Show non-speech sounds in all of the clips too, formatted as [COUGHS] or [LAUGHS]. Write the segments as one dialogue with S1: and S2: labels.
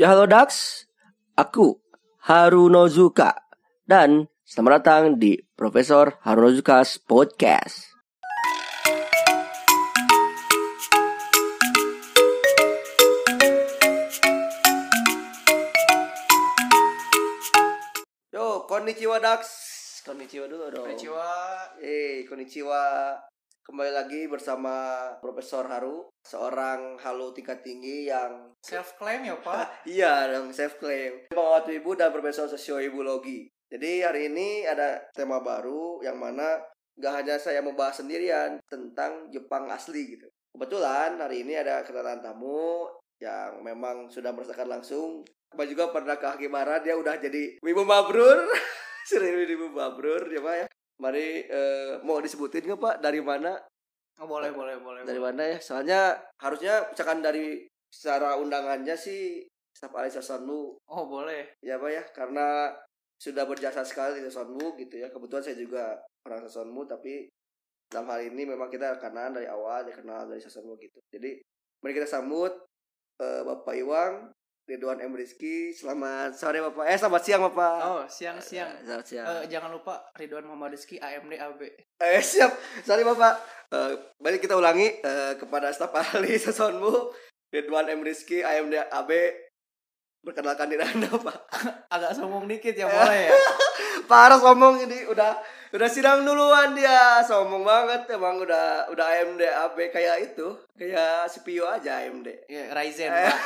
S1: Ya halo Dax, aku Harunozuka dan selamat datang di Profesor Harunozuka's Podcast. Yo, konnichiwa Dax. Konnichiwa dulu dong.
S2: Konnichiwa.
S1: Eh, konnichiwa. Kembali lagi bersama Profesor Haru, seorang halo tingkat tinggi yang
S2: Self claim ya pak.
S1: [LAUGHS] Iya dong, self claim. Pengawat ibu dan profesor sosioimulogi. Jadi hari ini ada tema baru yang mana nggak hanya saya membahas sendirian tentang Jepang asli gitu. Kebetulan hari ini ada kedatangan tamu yang memang sudah merasakan langsung. Mbak juga pernah ke Akibaran, dia udah jadi Wibu Mabrur. [LAUGHS] Sering Wibu Mabrur, dia mah ya. Mari eh, mau disebutin nggak Pak dari mana
S2: Oh, boleh boleh boleh.
S1: dari
S2: boleh.
S1: mana ya soalnya harusnya misalkan dari secara undangannya sih staf ahli Sasonmu
S2: Oh boleh.
S1: ya pak ya karena sudah berjasa sekali di Sasonmu gitu ya kebetulan saya juga orang Sasonmu tapi dalam hal ini memang kita rekanan dari awal dikenal dari Sasonmu gitu jadi mari kita sambut eh, Bapak Iwang Ridwan M Rizky selamat sore Bapak eh selamat siang Bapak
S2: Oh siang siang.
S1: selamat siang
S2: Eh, jangan lupa Ridwan Muhammad Rizky AMD AB.
S1: Eh [LAUGHS] siap, sorry bapak. Eh, balik kita ulangi eh, kepada staf ahli [LAUGHS] sesonmu Ridwan M Rizky AMD AB perkenalkan diri anda pak.
S2: Agak sombong dikit
S1: [LAUGHS]
S2: ya boleh ya.
S1: Pak Aras ngomong ini udah udah sidang duluan dia sombong banget emang udah udah AMD AB kayak itu kayak CPU aja AMD.
S2: Ya, Ryzen
S1: Eh.
S2: pak.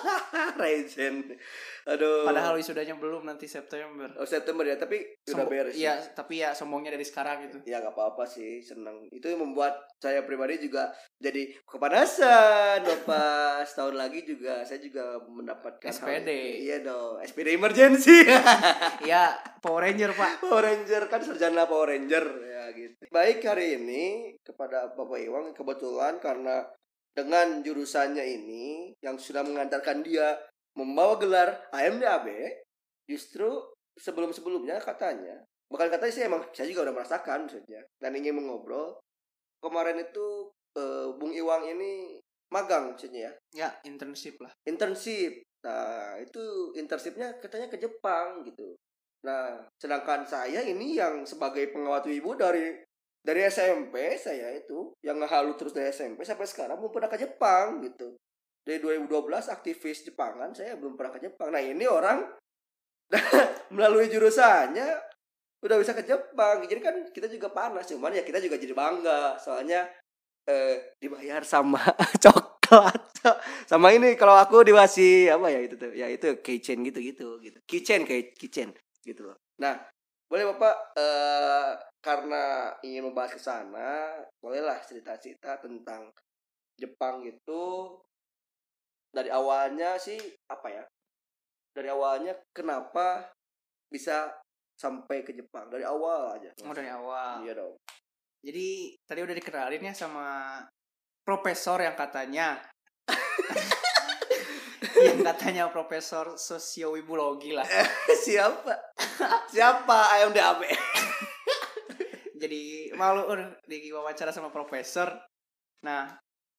S1: [LAUGHS] Ryzen, aduh.
S2: Padahal wisudanya belum nanti September.
S1: oh, September ya tapi sudah
S2: Sombong-
S1: beres.
S2: Iya tapi ya sombongnya dari sekarang gitu.
S1: ya nggak apa-apa sih senang itu yang membuat saya pribadi juga jadi kepanasan bapak setahun lagi juga saya juga mendapatkan hal
S2: SPD.
S1: itu. iya dong SPD emergency [LAUGHS]
S2: ya Power Ranger pak.
S1: Power Ranger kan sarjana Power Ranger ya gitu baik hari ini kepada bapak Iwang kebetulan karena dengan jurusannya ini yang sudah mengantarkan dia membawa gelar AMDAB justru sebelum-sebelumnya katanya bahkan katanya sih emang saya juga udah merasakan maksudnya dan ingin mengobrol kemarin itu eh, Bung Iwang ini magang maksudnya ya
S2: Ya internship lah.
S1: internship nah itu internshipnya katanya ke Jepang gitu nah sedangkan saya ini yang sebagai pengawat ibu dari dari SMP saya itu yang ngehalu terus dari SMP sampai sekarang belum pernah ke Jepang gitu dari 2012 aktivis Jepangan saya belum pernah ke Jepang nah ini orang [LAUGHS] melalui jurusannya udah bisa ke Jepang jadi kan kita juga panas cuman ya kita juga jadi bangga soalnya eh, dibayar sama [LAUGHS] coklat sama ini kalau aku dikasih apa ya itu tuh ya itu kitchen gitu gitu gitu kitchen kayak kitchen gitu loh nah boleh bapak eh karena ingin membahas ke sana bolehlah cerita-cerita tentang Jepang gitu dari awalnya sih apa ya dari awalnya kenapa bisa sampai ke Jepang dari awal aja
S2: Oh dari awal.
S1: iya dong [LAUGHS]
S2: Jadi tadi udah dikenalin ya sama profesor yang
S1: [LAUGHS]
S2: katanya [LAUGHS] yang katanya profesor sosiowibulogi lah.
S1: siapa siapa AMDAB
S2: [LAUGHS] jadi malu ur di wawancara sama profesor nah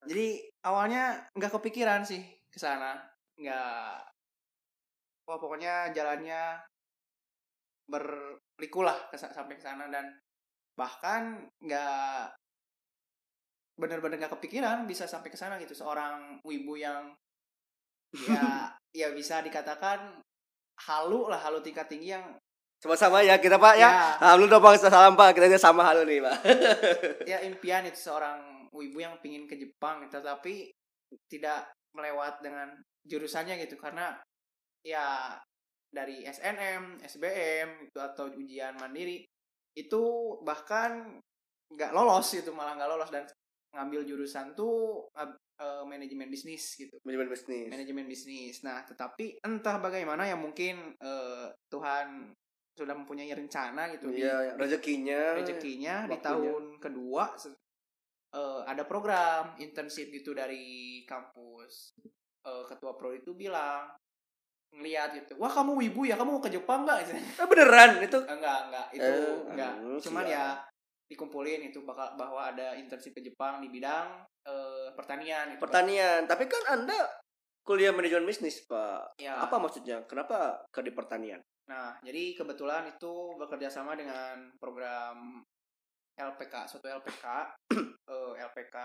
S2: jadi awalnya nggak kepikiran sih ke sana nggak wah pokoknya jalannya berlikulah ke sa- sampai ke sana dan bahkan nggak bener-bener nggak kepikiran bisa sampai ke sana gitu seorang wibu yang ya ya bisa dikatakan halu lah halu tingkat tinggi yang
S1: sama-sama ya kita pak ya
S2: ya
S1: Halo dong Bang salam Pak, kita aja sama halo nih Pak.
S2: ya impian itu seorang wibu yang pingin ke Jepang gitu, tapi tidak melewat dengan jurusannya gitu karena ya dari SNM, SBM itu gitu, atau ujian mandiri itu bahkan nggak lolos itu malah nggak lolos dan ngambil jurusan tuh eh, eh, manajemen bisnis gitu
S1: Manajemen bisnis.
S2: manajemen bisnis. Nah, tetapi entah bagaimana ya mungkin eh, Tuhan sudah mempunyai rencana gitu di-
S1: Iya, rezekinya.
S2: rezekinya di
S1: waktunya.
S2: tahun kedua se- eh, ada program internship gitu dari kampus Eh, ketua prodi itu bilang ngeliat gitu wah kamu wibu ya kamu mau ke Jepang nggak [LAUGHS]
S1: Eh, beneran itu.
S2: enggak enggak itu
S1: Eh,
S2: enggak
S1: aduh,
S2: cuman
S1: sial.
S2: ya dikumpulin itu bakal bahwa ada internship ke Jepang di bidang eh, pertanian gitu.
S1: Pertanian, tapi kan Anda kuliah manajemen bisnis pak
S2: Ya.
S1: apa maksudnya kenapa ke di pertanian
S2: Nah, jadi kebetulan itu bekerja sama dengan program LPK, suatu LPK, [CLEARS THROAT] eh, LPK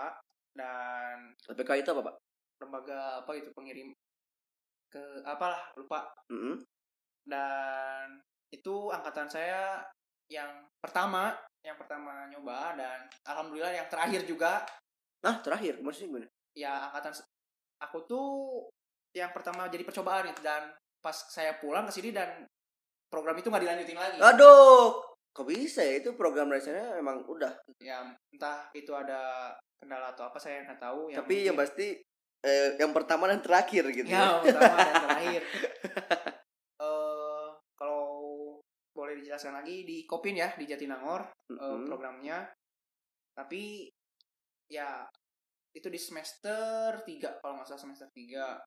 S2: dan
S1: LPK itu apa pak
S2: lembaga apa gitu pengirim ke apalah lupa.
S1: Mm-mm.
S2: Dan itu angkatan saya yang pertama, yang pertama nyoba dan alhamdulillah yang terakhir juga
S1: nah terakhir maksudnya gimana
S2: ya angkatan se- aku tuh yang pertama jadi percobaan gitu dan pas saya pulang ke sini dan program itu nggak dilanjutin lagi.
S1: aduh kok bisa ya itu program dasarnya emang udah
S2: ya entah itu ada kendala atau apa saya nggak tahu yang
S1: tapi yang
S2: Iya, mungkin-
S1: pasti eh, yang pertama dan terakhir gitu
S2: ya
S1: ya,
S2: pertama
S1: [LAUGHS]
S2: dan terakhir Eh, kalau boleh dijelaskan lagi di Kopin ya di Jatinangor eh,
S1: Mm-mm.
S2: programnya tapi ya itu di semester 3 kalau nggak salah semester 3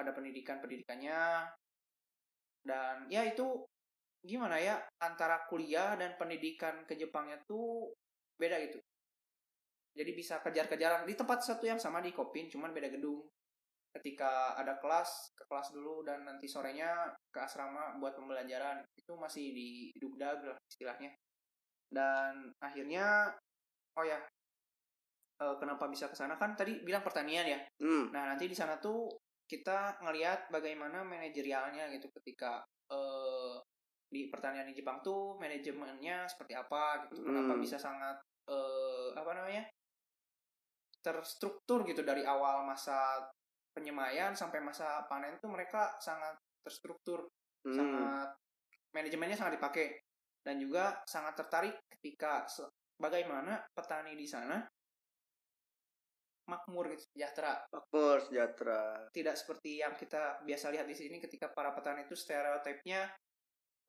S2: ada pendidikan pendidikannya dan ya itu gimana ya antara kuliah dan pendidikan ke Jepangnya tuh beda gitu jadi bisa kejar-kejaran di tempat satu yang sama di Kopin cuman beda gedung ketika ada kelas ke kelas dulu dan nanti sorenya ke asrama buat pembelajaran itu masih di dugdag lah istilahnya dan akhirnya oh ya eh, kenapa bisa ke sana kan tadi bilang pertanian ya
S1: Hmm.
S2: Nah, nanti di sana tuh kita ngelihat bagaimana manajerialnya gitu ketika eh di pertanian di Jepang tuh manajemennya seperti apa gitu. Kenapa
S1: Hmm.
S2: bisa sangat eh apa namanya? terstruktur gitu dari awal masa penyemaian sampai masa panen tuh mereka sangat terstruktur
S1: Hmm.
S2: sangat manajemennya sangat dipakai dan juga sangat tertarik ketika se- bagaimana petani di sana makmur gitu, sejahtera
S1: makmur sejahtera
S2: tidak seperti yang kita biasa lihat di sini ketika para petani itu stereotipnya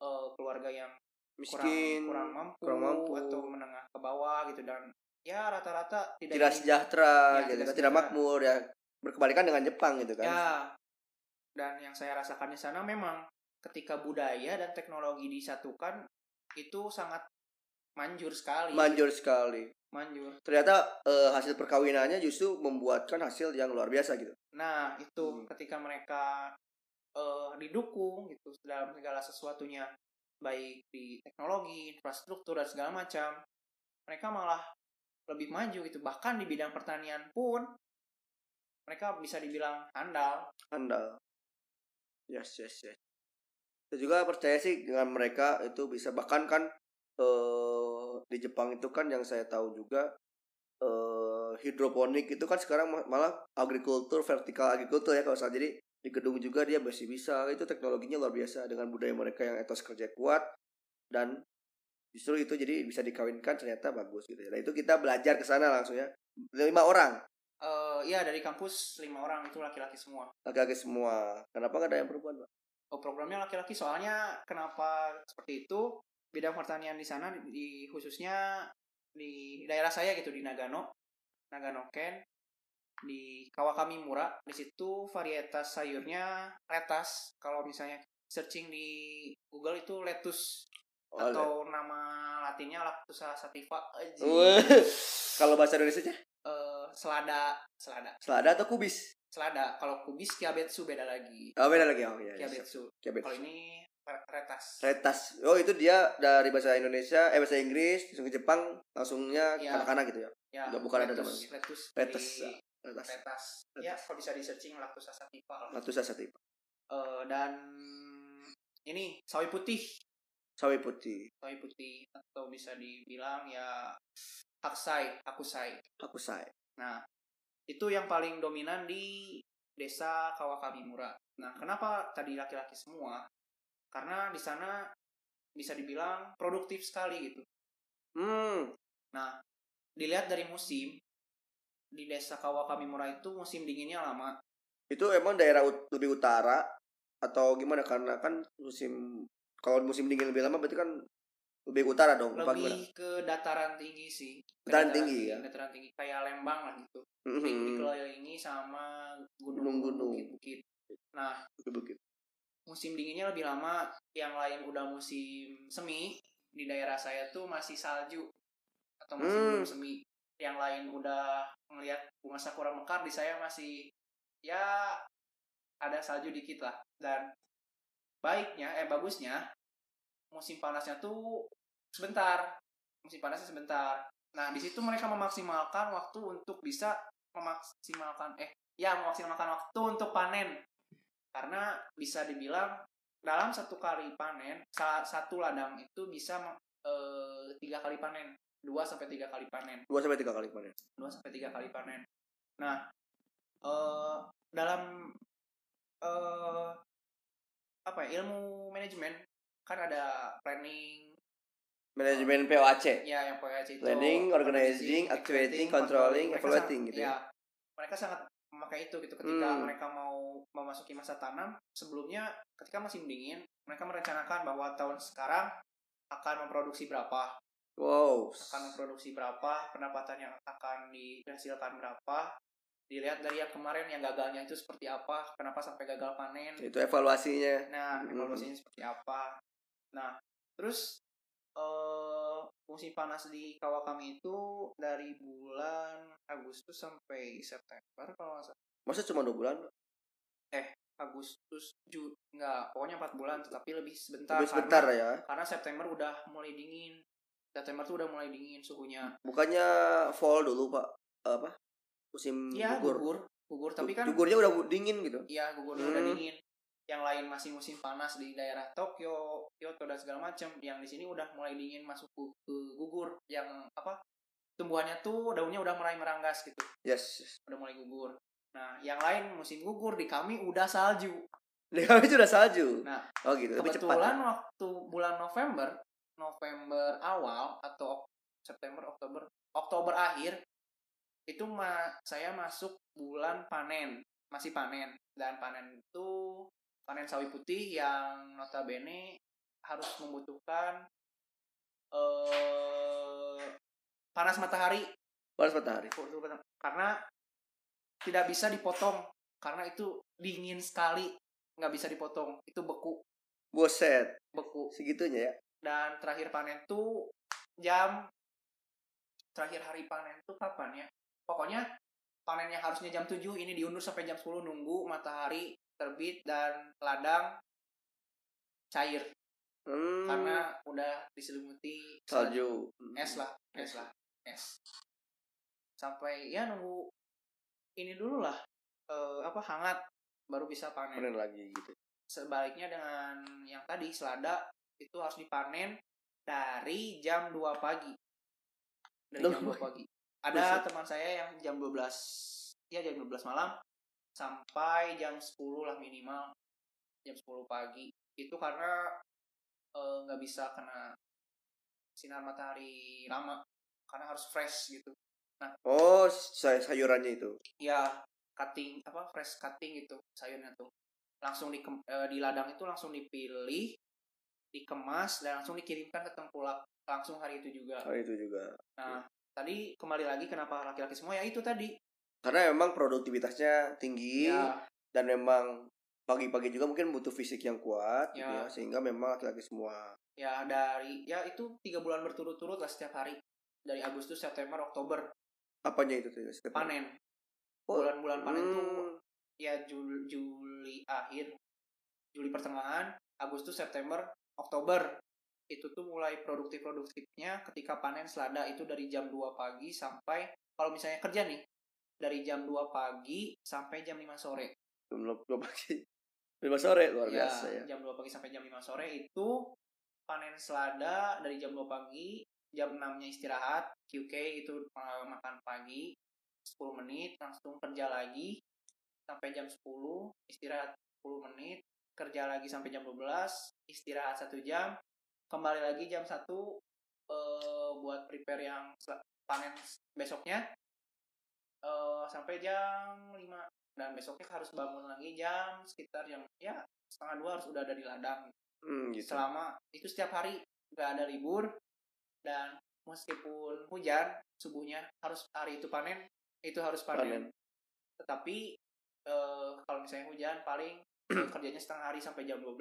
S2: eh, keluarga yang kurang
S1: miskin
S2: kurang mampu,
S1: kurang mampu.
S2: atau menengah ke bawah gitu dan ya rata-rata tidak
S1: tidak
S2: ini-
S1: sejahtera
S2: Ya,
S1: gitu
S2: tidak
S1: kan, tidak,
S2: sejahtera.
S1: makmur ya berkebalikan dengan Jepang gitu kan
S2: Ya. Dan yang saya rasakan di sana memang ketika budaya dan teknologi disatukan itu sangat manjur sekali.
S1: manjur sekali
S2: Manjur.
S1: ternyata eh, hasil perkawinannya justru membuatkan hasil yang luar biasa gitu
S2: Nah, itu
S1: Hmm.
S2: ketika mereka eh, didukung gitu dalam segala sesuatunya baik di teknologi, infrastruktur dan segala macam, mereka malah lebih maju gitu. Bahkan di bidang pertanian pun mereka bisa dibilang handal.
S1: handal yes yes yes saya juga percaya sih dengan mereka itu bisa bahkan kan eh, di Jepang itu kan yang saya tahu juga eh, hidroponik itu kan sekarang ma- malah agrikultur vertikal agrikultur ya kalau salah jadi di gedung juga dia masih bisa itu teknologinya luar biasa dengan budaya mereka yang etos kerja kuat dan justru itu jadi bisa dikawinkan ternyata bagus gitu ya. Nah itu kita belajar ke sana langsung ya lima orang
S2: Eh, ya dari kampus lima orang itu laki-laki semua.
S1: laki-laki semua kenapa nggak ada yang perempuan Pak?
S2: Oh, programnya laki-laki soalnya kenapa seperti itu? Bidang pertanian di sana di, khususnya di daerah saya gitu di Nagano, Nagano Ken di Kawakamimura. Di situ varietas sayurnya letas. Kalau misalnya searching di Google itu letus
S1: Oh,
S2: atau nama latinnya Lactusa sativa aja.
S1: Wah, kalau bahasa Indonesia
S2: eh, selada, selada,
S1: selada atau kubis?
S2: selada. Kalau kubis kiabetsu beda lagi.
S1: Oh, beda lagi. Oh, iya, iya.
S2: Kiabetsu.
S1: Kiabet.
S2: Kalau ini retas.
S1: Retas. Oh, itu dia dari bahasa Indonesia, eh bahasa Inggris, langsung ke Jepang, langsungnya
S2: Iya.
S1: kanak-kanak gitu ya.
S2: ya
S1: Nggak, bukan ada
S2: letus letus
S1: Letus,
S2: dari
S1: Retas.
S2: letas. ya kalau bisa di searching lactusa sativa lah.
S1: Latusa satu
S2: Eh, dan ini sawi putih
S1: Sawi putih.
S2: sawi putih atau bisa dibilang ya haksai hakusai
S1: Aku say.
S2: nah itu yang paling dominan di desa Kawakamimura nah kenapa tadi laki-laki semua karena di sana bisa dibilang produktif sekali gitu
S1: Hmm.
S2: Nah, dilihat dari musim, di desa Kawakamimura itu musim dinginnya lama.
S1: Itu emang daerah ut- lebih utara atau gimana? Karena kan musim kalau musim dingin lebih lama berarti kan lebih ke utara dong. Apa gimana?
S2: Lebih ke dataran tinggi sih. Ke
S1: Dataran tinggi, ya?
S2: Dataran tinggi, kayak Lembang lah gitu. Di-
S1: Mhm.
S2: Dikelilingi sama
S1: Gunung-gunung.
S2: gunung-gunung, bukit-bukit. Nah,
S1: Bukit-bukit.
S2: musim dinginnya lebih lama, yang lain udah musim semi, di daerah saya tuh masih salju atau masih
S1: Hmm.
S2: belum semi. Yang lain udah ngelihat bunga sakura mekar, di saya masih ya ada salju dikit lah dan baiknya eh bagusnya musim panasnya tuh sebentar musim panasnya sebentar nah di situ mereka memaksimalkan waktu untuk bisa memaksimalkan eh ya memaksimalkan waktu untuk panen karena bisa dibilang dalam satu kali panen sa- satu ladang itu bisa meng- eh, tiga kali panen dua sampai tiga kali panen
S1: dua sampai tiga kali panen
S2: 2 sampai 3 kali panen. Nah, eh dalam eh apa ya, ilmu manajemen kan ada planning
S1: manajemen POAC
S2: ya yang POAC itu
S1: Planning, organizing, activating, controlling,
S2: Mereka
S1: evaluating
S2: sangat-
S1: gitu
S2: ya. Mereka sangat memakai itu gitu ketika
S1: Hmm.
S2: mereka mau memasuki masa tanam sebelumnya ketika musim dingin mereka merencanakan bahwa tahun sekarang akan memproduksi berapa
S1: wow
S2: akan memproduksi berapa, pendapatan yang akan dihasilkan berapa, dilihat dari yang kemarin yang gagalnya itu seperti apa, kenapa sampai gagal panen,
S1: itu evaluasinya
S2: nah
S1: Mm.
S2: evaluasinya seperti apa, nah terus eh musim panas di kawah kami itu dari bulan Agustus sampai September kalau nggak salah.
S1: masa cuma dua bulan
S2: Agustus Ju nggak pokoknya empat bulan tetapi lebih sebentar
S1: tapi
S2: karena-
S1: sebentar ya
S2: karena September udah mulai dingin September tuh udah mulai dingin suhunya
S1: bukannya fall dulu pak apa musim
S2: Iya gugur.
S1: gugur
S2: gugur, tapi kan
S1: gugurnya udah dingin gitu
S2: ya gugur udah
S1: Hmm.
S2: dingin. Yang lain masih musim panas di daerah Tokyo, Kyoto dan segala macam. Yang di sini udah mulai dingin masuk gu- ke gugur. Yang apa? Tumbuhannya tuh daunnya udah mulai meranggas gitu,
S1: yes [LAUGHS]
S2: udah mulai gugur. Nah, yang lain musim gugur di kami udah salju.
S1: Lihat itu udah salju
S2: Nah,
S1: oh gitu tapi cepat
S2: Kebetulan waktu bulan November, November awal atau Ok- September, Oktober, Oktober akhir itu ma saya masuk bulan panen, masih panen dan panen itu panen sawi putih yang notabene harus membutuhkan eh panas matahari
S1: panas matahari
S2: kan, karena tidak bisa dipotong karena itu dingin sekali nggak bisa dipotong itu beku
S1: boset
S2: beku
S1: segitunya ya
S2: dan terakhir panen tuh jam terakhir hari panen tuh kapan ya pokoknya panen yang harusnya jam 7 ini diundur sampai jam 10 nunggu matahari terbit dan ladang cair
S1: hmm,
S2: karena udah diselimuti
S1: salju Hmm,
S2: es lah es lah es sampai ya nunggu ini dulu lah eh, apa hangat baru bisa panen
S1: panen lagi gitu
S2: sebaliknya dengan yang tadi selada itu harus dipanen dari jam 2 pagi. Dari
S1: Loh.
S2: jam 2 pagi. Ada
S1: Buset.
S2: teman saya yang jam 12 ya jam 12 malam sampai jam 10 lah minimal jam 10 pagi. Itu karena eh, nggak bisa kena sinar matahari lama karena harus fresh gitu.
S1: oh say sayurannya itu
S2: ya cutting apa fresh cutting gitu sayurnya tuh langsung di di ladang itu langsung dipilih dikemas dan langsung dikirimkan ke tempulak langsung hari itu juga
S1: oh itu juga
S2: nah tadi kembali lagi kenapa laki-laki semua ya itu tadi
S1: karena memang produktivitasnya tinggi
S2: ya
S1: dan memang pagi-pagi juga mungkin butuh fisik yang kuat gitu ya,
S2: Ya.
S1: sehingga memang laki-laki semua
S2: ya dari ya itu tiga bulan berturut-turut lah setiap hari dari Agustus September Oktober
S1: apanya itu tuh ya, setiap hari?
S2: panen
S1: Oh.
S2: bulan-bulan panen tuh
S1: Hmm,
S2: ya Jul- Juli akhir Juli pertengahan Agustus September Oktober itu tuh mulai produktif produktifnya ketika panen selada itu dari jam 2 pagi sampai kalau misalnya kerja nih dari jam 2 pagi sampai jam 5 sore
S1: jam dua dua pagi lima sore luar
S2: ya,
S1: biasa ya
S2: jam 2 pagi sampai jam 5 sore itu panen selada dari jam 2 pagi jam 6 nya istirahat QK itu eh, makan pagi 10 menit langsung kerja lagi sampai jam 10 istirahat 10 menit kerja lagi sampai jam 12 istirahat satu jam kembali lagi jam 1 eh, buat prepare yang sel- panen besoknya eh, sampai jam 5 dan besoknya harus bangun lagi jam sekitar jam ya setengah dua harus udah ada di ladang
S1: Hmm, gitu.
S2: selama itu setiap hari nggak ada libur dan meskipun hujan subuhnya harus hari itu panen itu harus panen, tetapi eh, kalau misalnya hujan
S1: [CLEARS THROAT]
S2: paling eh, kerjanya setengah hari sampai jam 12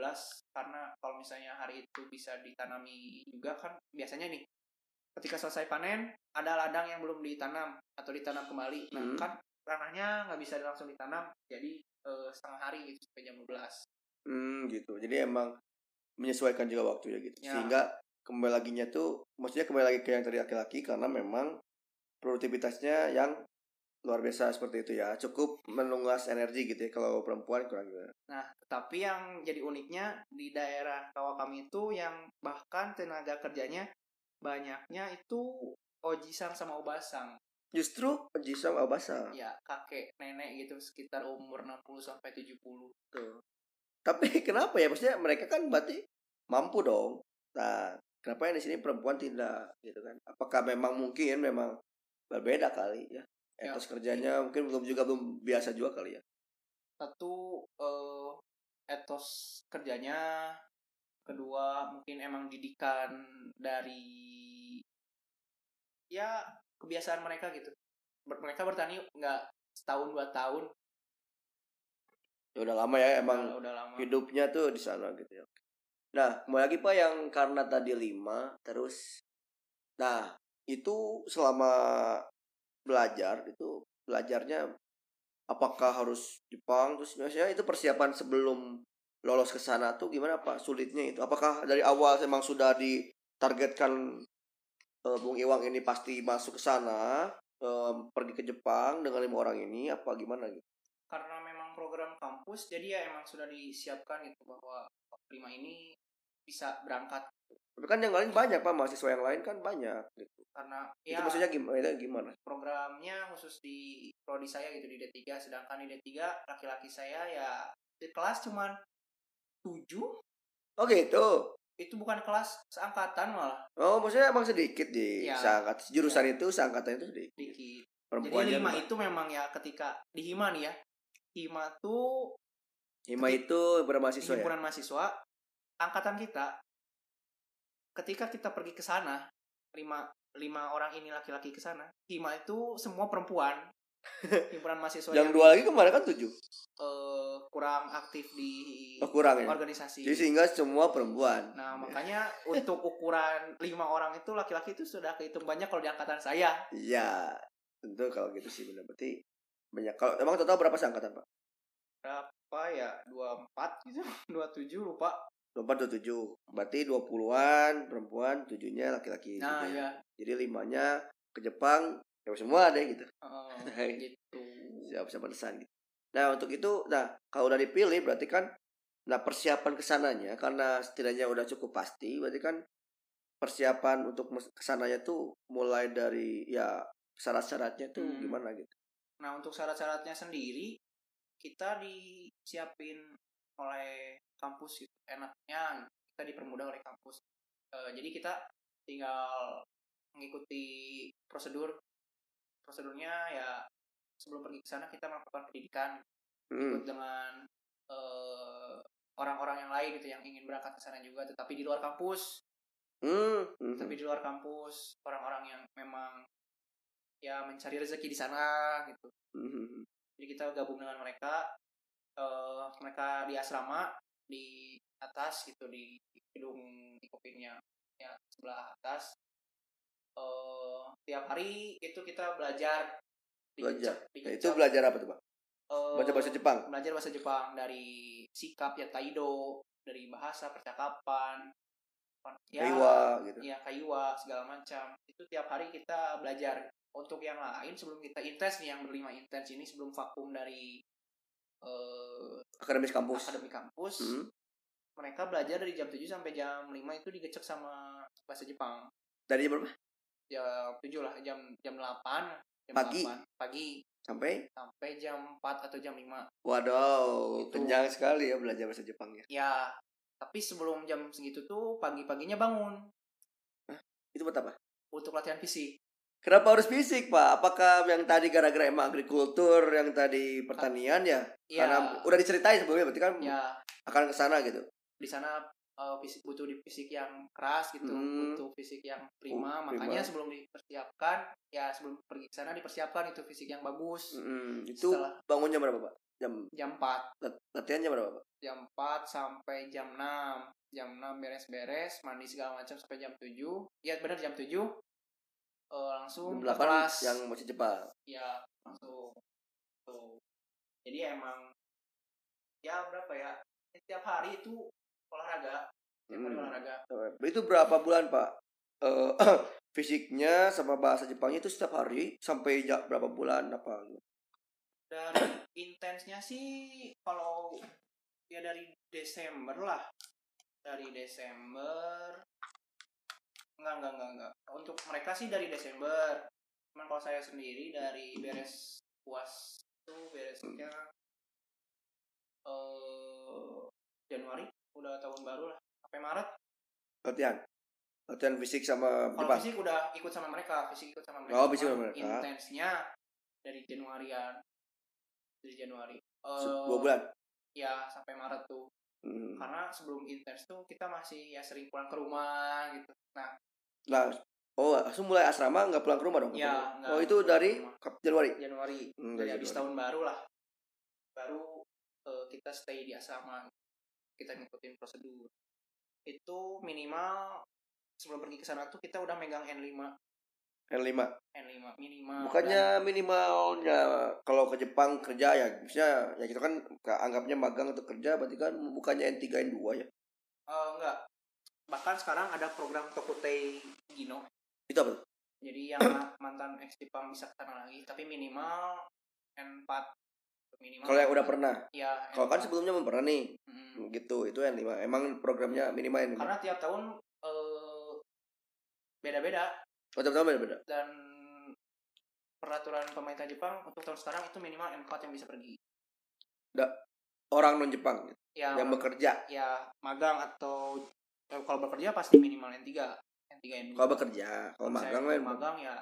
S2: karena kalau misalnya hari itu bisa ditanami juga kan biasanya nih ketika selesai panen ada ladang yang belum ditanam atau ditanam kembali nah
S1: Hmm.
S2: kan ranahnya nggak bisa langsung ditanam jadi eh, setengah hari gitu sampai jam 12
S1: Hmm, gitu. Jadi emang menyesuaikan juga waktunya gitu.
S2: Ya.
S1: Sehingga kembali laginya tuh maksudnya kembali lagi ke yang tadi laki-laki karena memang produktivitasnya yang luar biasa seperti itu ya. Cukup menungas energi gitu ya kalau perempuan kurang gitu.
S2: nah tetapi yang jadi uniknya di daerah rawa kami itu yang bahkan tenaga kerjanya banyaknya itu ojisan sama obasang
S1: Justru Jisam Abasa.
S2: ya kakek nenek gitu sekitar umur 60 sampai 70
S1: Tuh. Tapi [LAUGHS] kenapa ya? Maksudnya mereka kan berarti mampu dong. Nah, kenapa yang di sini perempuan tidak gitu kan? Apakah memang mungkin memang berbeda kali ya?
S2: Ya.
S1: Etos kerjanya mungkin belum juga belum biasa juga kali ya.
S2: satu eh, etos kerjanya kedua mungkin emang didikan dari ya kebiasaan mereka gitu Ber- mereka bertani nggak setahun dua tahun
S1: Ya udah lama ya emang
S2: udah, udah lama
S1: hidupnya tuh di sana gitu ya. Nah, kembali lagi Pak yang karena tadi lima terus nah itu selama belajar itu belajarnya apakah harus Jepang terus biasanya itu persiapan sebelum lolos ke sana tuh gimana Pak sulitnya itu apakah dari awal memang sudah ditargetkan eh, Bung Iwang ini pasti masuk ke sana eh, pergi ke Jepang dengan lima orang ini apa gimana gitu
S2: karena memang program kampus jadi ya emang sudah disiapkan gitu bahwa prima ini bisa berangkat
S1: tapi kan yang lain banyak Pak mahasiswa yang lain kan banyak gitu
S2: karena
S1: Itu
S2: ya
S1: maksudnya gimana? itu gimana?
S2: programnya khusus di prodi saya gitu di D3 sedangkan di D3 laki-laki saya ya di kelas cuman 7
S1: Oh gitu.
S2: itu bukan kelas seangkatan malah
S1: Oh maksudnya emang sedikit di
S2: Ya.
S1: seangkat jurusan itu seangkatan itu sedikit.
S2: dikit
S1: Perempuan
S2: jadi lima
S1: juga.
S2: itu memang ya ketika di hima nih ya hima tuh
S1: Hima itu bermahasiswa ya.
S2: himpunan mahasiswa angkatan kita ketika kita pergi ke sana lima lima orang ini laki-laki ke sana hima itu semua
S1: [LAUGHS]
S2: perempuan himpunan mahasiswa ya.
S1: Yang dua lagi kemarin kan tujuh.
S2: eh, kurang aktif di
S1: Oh, kurang ya.
S2: organisasi
S1: Jadi sehingga semua perempuan.
S2: Iya. Nah,
S1: [LAUGHS]
S2: makanya untuk ukuran lima orang itu laki-laki itu sudah kehitung banyak kalau di angkatan saya.
S1: Iya. Tentu kalau gitu sih benar berarti banyak. Kalau emang total berapa seangkatan Pak?
S2: Berapa ya? 24 gitu, [LAUGHS] 27 lupa.
S1: 24 27. Berarti 20-an perempuan, tujuhnya laki-laki.
S2: Nah,
S1: gitu
S2: ya.
S1: Jadi limanya ke Jepang ya semua deh gitu. [LAUGHS]
S2: eh, gitu.
S1: siap siap penesan gitu. Nah untuk itu, nah kalau udah dipilih berarti kan, nah persiapan kesananya karena setidaknya udah cukup pasti, berarti kan persiapan untuk mes- kesananya tuh mulai dari ya syarat-syaratnya tuh
S2: Hmm.
S1: gimana gitu.
S2: Nah, untuk syarat-syaratnya sendiri kita disiapin oleh kampus gitu. Enaknya kita dipermudah oleh kampus. Eh, jadi kita tinggal mengikuti prosedur. Prosedurnya ya sebelum pergi ke sana kita melakukan pendidikan
S1: Hmm.
S2: ikut dengan eh, orang-orang yang lain gitu yang ingin berangkat ke sana juga tetapi di luar kampus
S1: Hmm. hmm.
S2: tapi di luar kampus orang-orang yang memang ya mencari rezeki di sana gitu
S1: Hmm.
S2: jadi kita gabung dengan mereka eh mereka di asrama di atas gitu di gedung ikopinnya ya sebelah atas eh tiap hari itu kita belajar
S1: Belajar.
S2: dicecep,
S1: Nah, itu
S2: dicecep.
S1: belajar apa tuh pak?
S2: Eh,
S1: Baca bahasa Jepang.
S2: belajar bahasa Jepang dari sikap ya taido dari bahasa percakapan kon- ya
S1: Kaiwa gitu.
S2: ya kaiwa segala macam itu tiap hari kita belajar untuk yang lain sebelum kita intens nih yang berlima intens ini sebelum vakum dari eh,
S1: Akademis kampus.
S2: akademi kampus
S1: Hmm.
S2: mereka belajar dari jam 7 sampai jam 5 itu digecek sama bahasa Jepang
S1: Dari jam berapa?
S2: jam 7 lah jam jam 8 jam
S1: Pagi.
S2: 8, pagi
S1: Sampai?
S2: sampai jam 4 atau jam 5
S1: Waduh,
S2: Itu.
S1: kenyang sekali ya belajar bahasa Jepangnya.
S2: Ya, tapi sebelum jam segitu tuh pagi-paginya bangun
S1: Itu buat apa?
S2: untuk latihan fisik.
S1: Kenapa harus fisik pak? Apakah yang tadi gara-gara emang agrikultur, yang tadi pertanian ya?
S2: Ya,
S1: Karena udah diceritain sebelumnya berarti kan
S2: ya
S1: akan ke sana gitu.
S2: di sana eh, fisik butuh di fisik yang keras gitu,
S1: Hmm.
S2: butuh fisik yang prima.
S1: Oh, prima.
S2: Makanya sebelum dipersiapkan, ya sebelum pergi ke sana dipersiapkan itu fisik yang bagus.
S1: Mm, itu
S2: Setelah-
S1: bangunnya berapa pak? Jam
S2: Jam 4,
S1: lat- latihannya berapa pak?
S2: jam 4 sampai jam 6. Jam 6 beres-beres, mandi segala macam sampai jam 7. Iya benar jam 7. Eh,
S1: Jam
S2: langsung ke
S1: delapan
S2: kelas.
S1: yang masih Jepang.
S2: ya langsung tuh jadi emang ya berapa ya setiap hari itu olahraga setiap hari
S1: Hmm.
S2: olahraga
S1: Itu berapa bulan pak? Eh, [CLEARS THROAT] fisiknya sama bahasa Jepangnya itu setiap hari sampai ja- berapa bulan apa? gitu?
S2: dan intensnya sih kalau ya dari Desember lah dari Desember enggak enggak enggak enggak untuk mereka sih dari Desember cuman kalau saya sendiri dari beres puas tuh beresnya eh Januari udah tahun baru lah sampai Maret
S1: Latihan, latihan fisik sama
S2: kalau
S1: Jepang.
S2: fisik udah ikut sama mereka fisik ikut sama mereka
S1: Oh, fisik
S2: Cuman
S1: sama mereka.
S2: intensnya dari Januarian dari Januari
S1: Se-
S2: Eh,
S1: Dua bulan.
S2: ya sampai Maret tuh
S1: Hmm.
S2: karena sebelum intens tuh kita masih ya sering pulang ke rumah gitu nah
S1: Nah, oh, langsung mulai asrama nggak pulang ke rumah dong?
S2: Ya, nggak
S1: oh, itu
S2: pulang ke
S1: dari
S2: rumah.
S1: Kap- Januari.
S2: Januari
S1: Hmm,
S2: dari
S1: dari
S2: habis
S1: Januari.
S2: tahun baru lah baru eh, kita stay di asrama kita ngikutin prosedur itu minimal sebelum pergi ke sana tuh kita udah megang N5
S1: N5.
S2: N5 minimal
S1: Bukannya minimalnya kalau ke Jepang kerja ya, misalnya ya kita kan anggapnya magang atau kerja berarti kan bukannya N3 N2 ya.
S2: Dan, eh, enggak bahkan sekarang ada program Tokutei Gino
S1: Itu apa? tuh?
S2: jadi yang
S1: [COUGHS]
S2: ma- mantan ex Jepang bisa ke sana lagi tapi minimal N4 minimal
S1: Kalau yang udah pernah.
S2: ya
S1: Kalau kan
S2: N4.
S1: sebelumnya belum pernah nih.
S2: Mm.
S1: Gitu, itu N5. Emang programnya minimal N5.
S2: karena tiap tahun eh, beda-beda
S1: Oh, teman-teman beda.
S2: dan peraturan pemerintah Jepang untuk tahun sekarang itu minimal N4 yang bisa pergi
S1: Orang non Jepang gitu,
S2: ya
S1: yang bekerja.
S2: ya magang atau eh, kalau bekerja pasti minimal N3 N3 N2
S1: Kalau bekerja, kalau
S2: Saya
S1: magang kan
S2: kalau
S1: lain. [LAUGHS]
S2: magang ya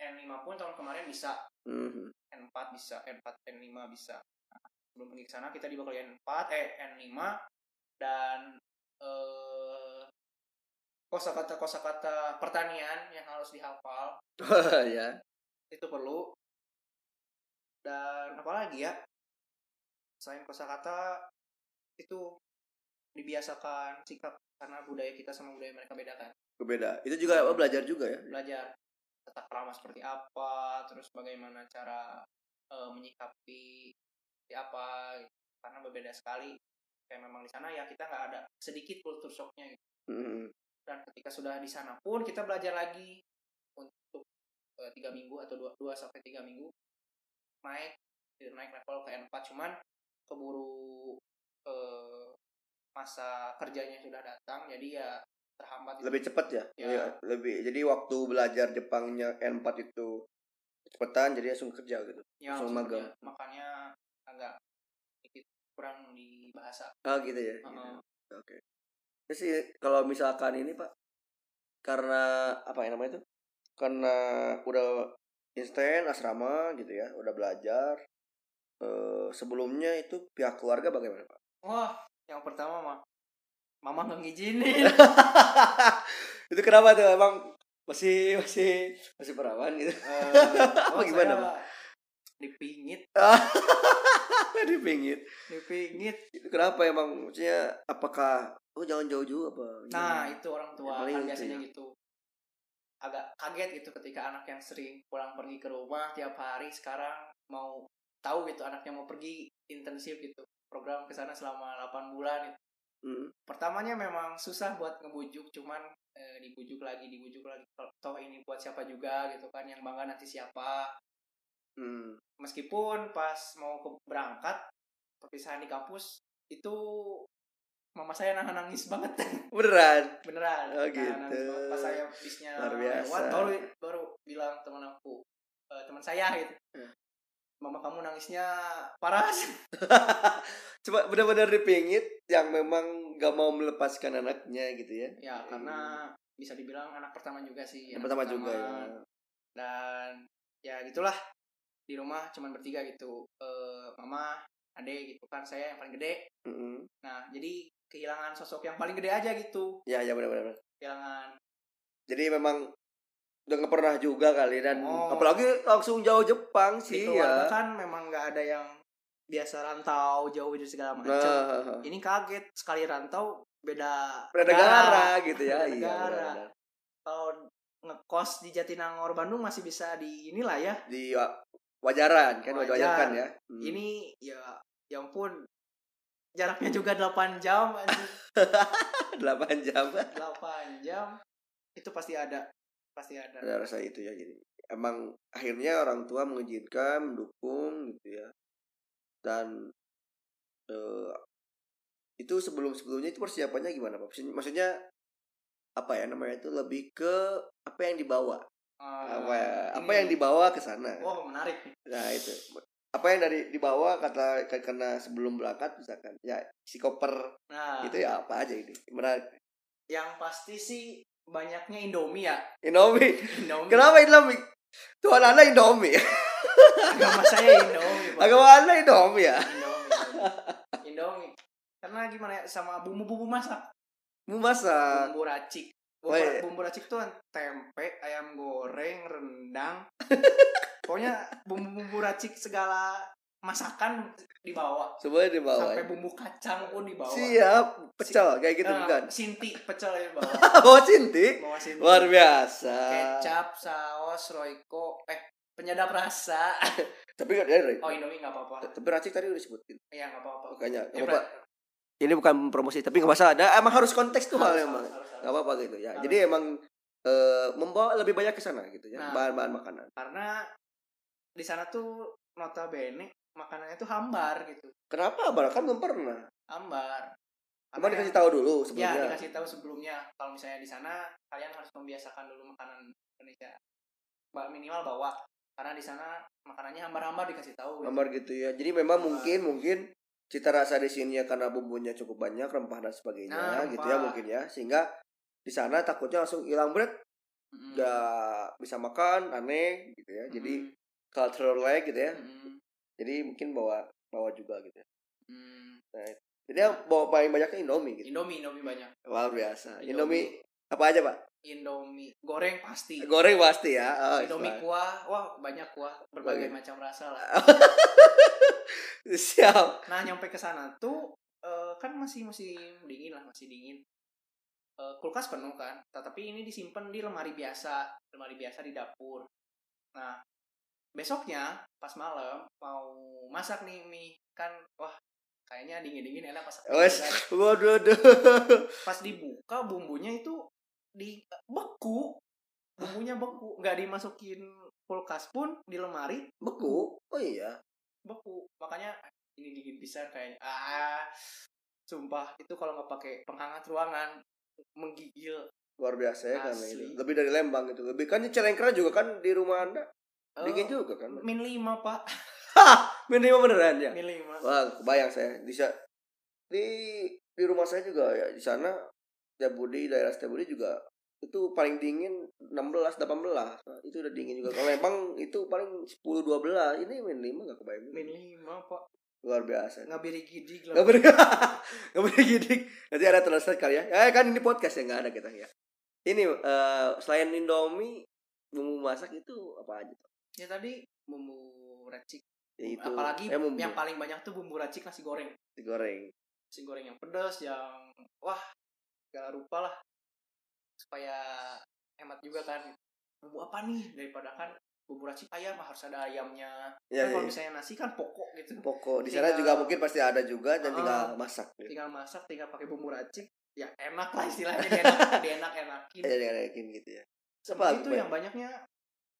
S2: N5 pun tahun kemarin bisa
S1: Mhm.
S2: N4 bisa N4 N5 bisa Nah, sebelum pergi ke sana kita dibekali N4 eh N5 dan eh kosakata kosakata pertanian yang harus dihafal
S1: [LAUGHS] ya.
S2: itu perlu dan apalagi ya selain kosakata itu dibiasakan sikap karena budaya kita sama budaya mereka bedakan
S1: Beda. Itu
S2: Iya.
S1: juga oh, belajar juga ya.
S2: belajar tata krama seperti apa terus bagaimana cara eh, menyikapi seperti apa gitu. karena berbeda sekali kayak memang di sana ya kita nggak ada sedikit kultur shocknya gitu.
S1: Mhm.
S2: dan ketika sudah di sana pun kita belajar lagi untuk eh, tiga minggu atau dua dua sampai tiga minggu naik naik level ke N4 cuman keburu eh, masa kerjanya sudah datang jadi ya terhambat itu.
S1: lebih cepat ya?
S2: Ya.
S1: Iya, lebih jadi waktu belajar Jepangnya N4 itu cepetan jadi langsung kerja gitu
S2: ya,
S1: Soal
S2: maksudnya,
S1: magang.
S2: makanya agak sedikit kurang di bahasa
S1: ah gitu ya gitu.
S2: Heeh.
S1: oke Terus sih kalau misalkan ini pak karena apa yang namanya itu karena udah instan asrama gitu ya udah belajar eh, sebelumnya itu pihak keluarga bagaimana pak [LAUGHS]
S2: wah yang pertama mah mama nggak
S1: [LAUGHS]
S2: ngizinin Eh,
S1: itu kenapa tuh emang masih masih masih perawan gitu [LAUGHS]
S2: Eh, wah,
S1: Gimana,
S2: saya
S1: Pak?
S2: dipingit
S1: di pinggir
S2: dipingit
S1: itu kenapa emang maksudnya apakah oh jangan jauh-jauh apa
S2: nah itu orang tua
S1: Ya, paling
S2: kan
S1: itu
S2: biasanya gitu agak kaget gitu ketika anak yang sering pulang pergi ke rumah tiap hari sekarang mau tahu gitu anaknya mau pergi intensif gitu program ke sana selama 8 bulan gitu.
S1: Hmm.
S2: pertamanya memang susah buat ngebujuk cuman eh, dibujuk lagi dibujuk lagi Toh- toh ini buat siapa juga gitu kan yang bangga nanti siapa
S1: Hmm.
S2: meskipun pas mau ke berangkat perpisahan di kampus itu mama saya nahan nangis [LAUGHS] banget
S1: beneran
S2: beneran
S1: Oh,
S2: Nahan nangis
S1: gitu.
S2: banget. pas saya bisnya
S1: Luar biasa.
S2: lewat baru baru bilang teman aku eh, teman saya gitu
S1: Hmm.
S2: mama kamu nangisnya parah [LAUGHS]
S1: Coba benar-benar dipingit yang memang gak mau melepaskan anaknya gitu ya.
S2: ya karena bisa dibilang anak pertama juga sih
S1: yang
S2: anak
S1: pertama juga ya.
S2: dan ya gitulah di rumah cuman bertiga gitu Eh, mama ade gitu kan saya yang paling gede
S1: Mm-mm.
S2: nah jadi kehilangan sosok yang paling gede aja gitu
S1: Ya ya benar-benar.
S2: kehilangan
S1: Jadi memang udah nggak pernah juga kali dan
S2: Oh.
S1: apalagi langsung jauh Jepang
S2: di
S1: sih
S2: keluarga
S1: ya.
S2: kan memang nggak ada yang biasa rantau jauh dari segala macam
S1: Nah,
S2: ini kaget sekali rantau beda
S1: beda negara gitu ya.
S2: Beda
S1: Iya,
S2: Iya. negara.
S1: benar-benar.
S2: kalau ngekos di Jatinangor Bandung masih bisa di inilah ya
S1: Hmm. Di wa- uh, wajaran kan
S2: Wajar.
S1: wajar kan ya. Hmm.
S2: ini ya ya ampun jaraknya juga 8 jam anjing.
S1: 8 jam
S2: 8 jam itu pasti ada pasti ada
S1: ada rasa itu ya jadi emang akhirnya orang tua mengizinkan mendukung gitu ya dan eh, itu sebelum sebelumnya itu persiapannya gimana pak Maksud- maksudnya apa ya namanya itu lebih ke apa yang dibawa
S2: Eh,
S1: apa ya, apa
S2: ini-
S1: yang dibawa ke sana
S2: wow menarik nih
S1: nah itu apa yang dari dibawa kata karena sebelum berangkat misalkan ya si koper
S2: nah
S1: itu ya apa aja ini menarik
S2: yang pasti sih banyaknya Indomie ya [LAUGHS]
S1: Indomie
S2: Indomie
S1: kenapa Indomie Tuhan anda Indomie
S2: agama saya Indomie Pak.
S1: agama anda Indomie ya
S2: Indomie Indomie karena gimana ya sama bumbu-bumbu masak
S1: mau masak
S2: bumbu racik
S1: Oh,
S2: bumbu,
S1: iya.
S2: bumbu racik tuh kan tempe ayam goreng
S1: [LAUGHS]
S2: rendang pokoknya bumbu-bumbu racik segala masakan dibawa
S1: semuanya dibawa
S2: sampai bumbu kacang pun dibawa
S1: siap pecel kayak gitu
S2: Eh,
S1: bukan [LAUGHS]
S2: sinti pecel ya bawa
S1: bawa cinti
S2: bawa sinti
S1: luar biasa
S2: kecap saus royco eh penyedap rasa
S1: tapi nggak dari
S2: oh indomie nggak apa-apa
S1: tapi racik tadi udah disebutin
S2: ya nggak apa-apa
S1: makanya
S2: Ya,
S1: nggak apa ini bukan promosi tapi nggak masalah ada emang harus konteks tuh hal emang
S2: harus, harus.
S1: nggak apa apa gitu ya
S2: Harus.
S1: jadi emang eh, membawa lebih banyak ke sana gitu ya
S2: Nah.
S1: bahan-bahan makanan
S2: karena di sana tuh notabene makanannya tuh hambar gitu
S1: kenapa abang kan belum pernah
S2: hambar
S1: abang
S2: Makanya-
S1: dikasih tahu dulu
S2: ya
S1: sebelumnya
S2: dikasih tahu sebelumnya kalau misalnya di sana kalian harus membiasakan dulu makanan Indonesia Ba- minimal bawa karena di sana makanannya hambar-hambar dikasih tahu gitu.
S1: gambar gitu ya jadi memang
S2: Nah.
S1: mungkin mungkin cita rasa di sini ya karena bumbunya cukup banyak rempah dan sebagainya
S2: Nah,
S1: gitu
S2: rempah.
S1: ya mungkin ya sehingga di sana takutnya langsung hilang berat
S2: Hmm. Mm-mm.
S1: nggak bisa makan aneh gitu ya jadi
S2: Mm-mm.
S1: cultural lag gitu ya
S2: Mm-mm.
S1: jadi mungkin bawa bawa juga gitu ya.
S2: Mm.
S1: jadi yang bawa paling banyaknya indomie gitu
S2: Indomie Indomie banyak
S1: luar biasa indomie, apa aja pak
S2: Indomie goreng pasti
S1: goreng pasti ya Oh,
S2: Indomie
S1: istilah.
S2: kuah wah banyak kuah berbagai macam rasa lah
S1: [LAUGHS] siap
S2: Nah nyampe ke sana tuh eh, kan masih musim dingin lah masih dingin. Eh, kulkas penuh kan, tetapi ini disimpan di lemari biasa, lemari biasa di dapur. Nah besoknya pas malam mau masak nih mie kan wah kayaknya dingin dingin enak masak. mie
S1: wes
S2: kan.
S1: waduh waduh.
S2: Pas dibuka bumbunya itu di beku, bumbunya beku, nggak dimasukin kulkas pun di lemari
S1: beku oh iya
S2: beku makanya ini dingin pisan kayaknya ah sumpah itu kalau nggak pakai penghangat ruangan menggigil
S1: luar biasa ya karena
S2: Asli.
S1: itu lebih dari Lembang itu lebih kan celengkera juga kan di rumah anda
S2: Eh,
S1: dingin juga kan
S2: min lima pak
S1: minimal beneran ya
S2: [LAUGHS] min lima
S1: Wah, kebayang saya bisa di di rumah saya juga ya di sana Setiabudi daerah Setiabudi juga itu paling dingin 16 18 Nah, itu udah dingin juga kalau Lembang itu paling 10 12 ini min 5 gak kebayang
S2: min lima pak
S1: luar biasa [LAUGHS]
S2: nggak beri gidik
S1: Gak
S2: lah
S1: boleh [LAUGHS] Gak boleh gini Nanti ada translate kali ya Eh kan ini podcast ya Gak ada kita ya Ini eh, Selain Indomie Bumbu masak itu Apa aja
S2: ya tadi bumbu racik
S1: ya, itu,
S2: apalagi
S1: eh, bumbu
S2: yang paling banyak tuh bumbu racik nasi goreng
S1: digoreng
S2: nasi goreng yang pedas yang wah segala rupa lah supaya hemat juga kan bumbu apa nih daripada kan bumbu racik ayam ah, harus ada ayamnya
S1: Ya, ya,
S2: Kan kalau
S1: ya.
S2: misalnya nasi kan pokok gitu
S1: Pokok Di sana
S2: Tinggal-
S1: juga mungkin pasti ada juga Dan
S2: Ah.
S1: tinggal masak gitu.
S2: tinggal masak tinggal pakai bumbu racik ya enak lah
S1: [LAUGHS]
S2: istilahnya dienak dienak enakin
S1: Ya tinggal yakin gitu ya
S2: Seperti
S1: apa-
S2: Nah, itu yang banyaknya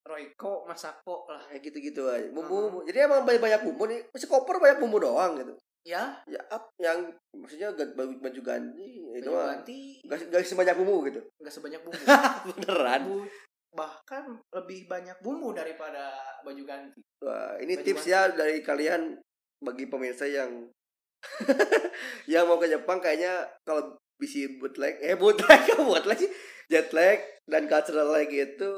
S2: Royco masako lah
S1: Ya gitu-gitu aja
S2: Ah.
S1: Bumbu Jadi emang banyak-banyak bumbu nih Masih koper banyak bumbu doang gitu
S2: ya
S1: Ya ap- yang Maksudnya gak- baju ganti ya Itu
S2: baju
S1: mah
S2: ganti Ah,
S1: Gak, gak sebanyak bumbu gitu
S2: nggak sebanyak
S1: [LAUGHS]
S2: bumbu
S1: Beneran
S2: Bu- bahkan lebih banyak bumbu daripada baju ganti
S1: Wah, ini
S2: Baju
S1: tips ya dari kalian bagi pemirsa yang [LAUGHS] yang mau ke Jepang kayaknya kalau bisi bootleg eh bootleg [LAUGHS] kok bootleg sih jet lag dan cultural lag itu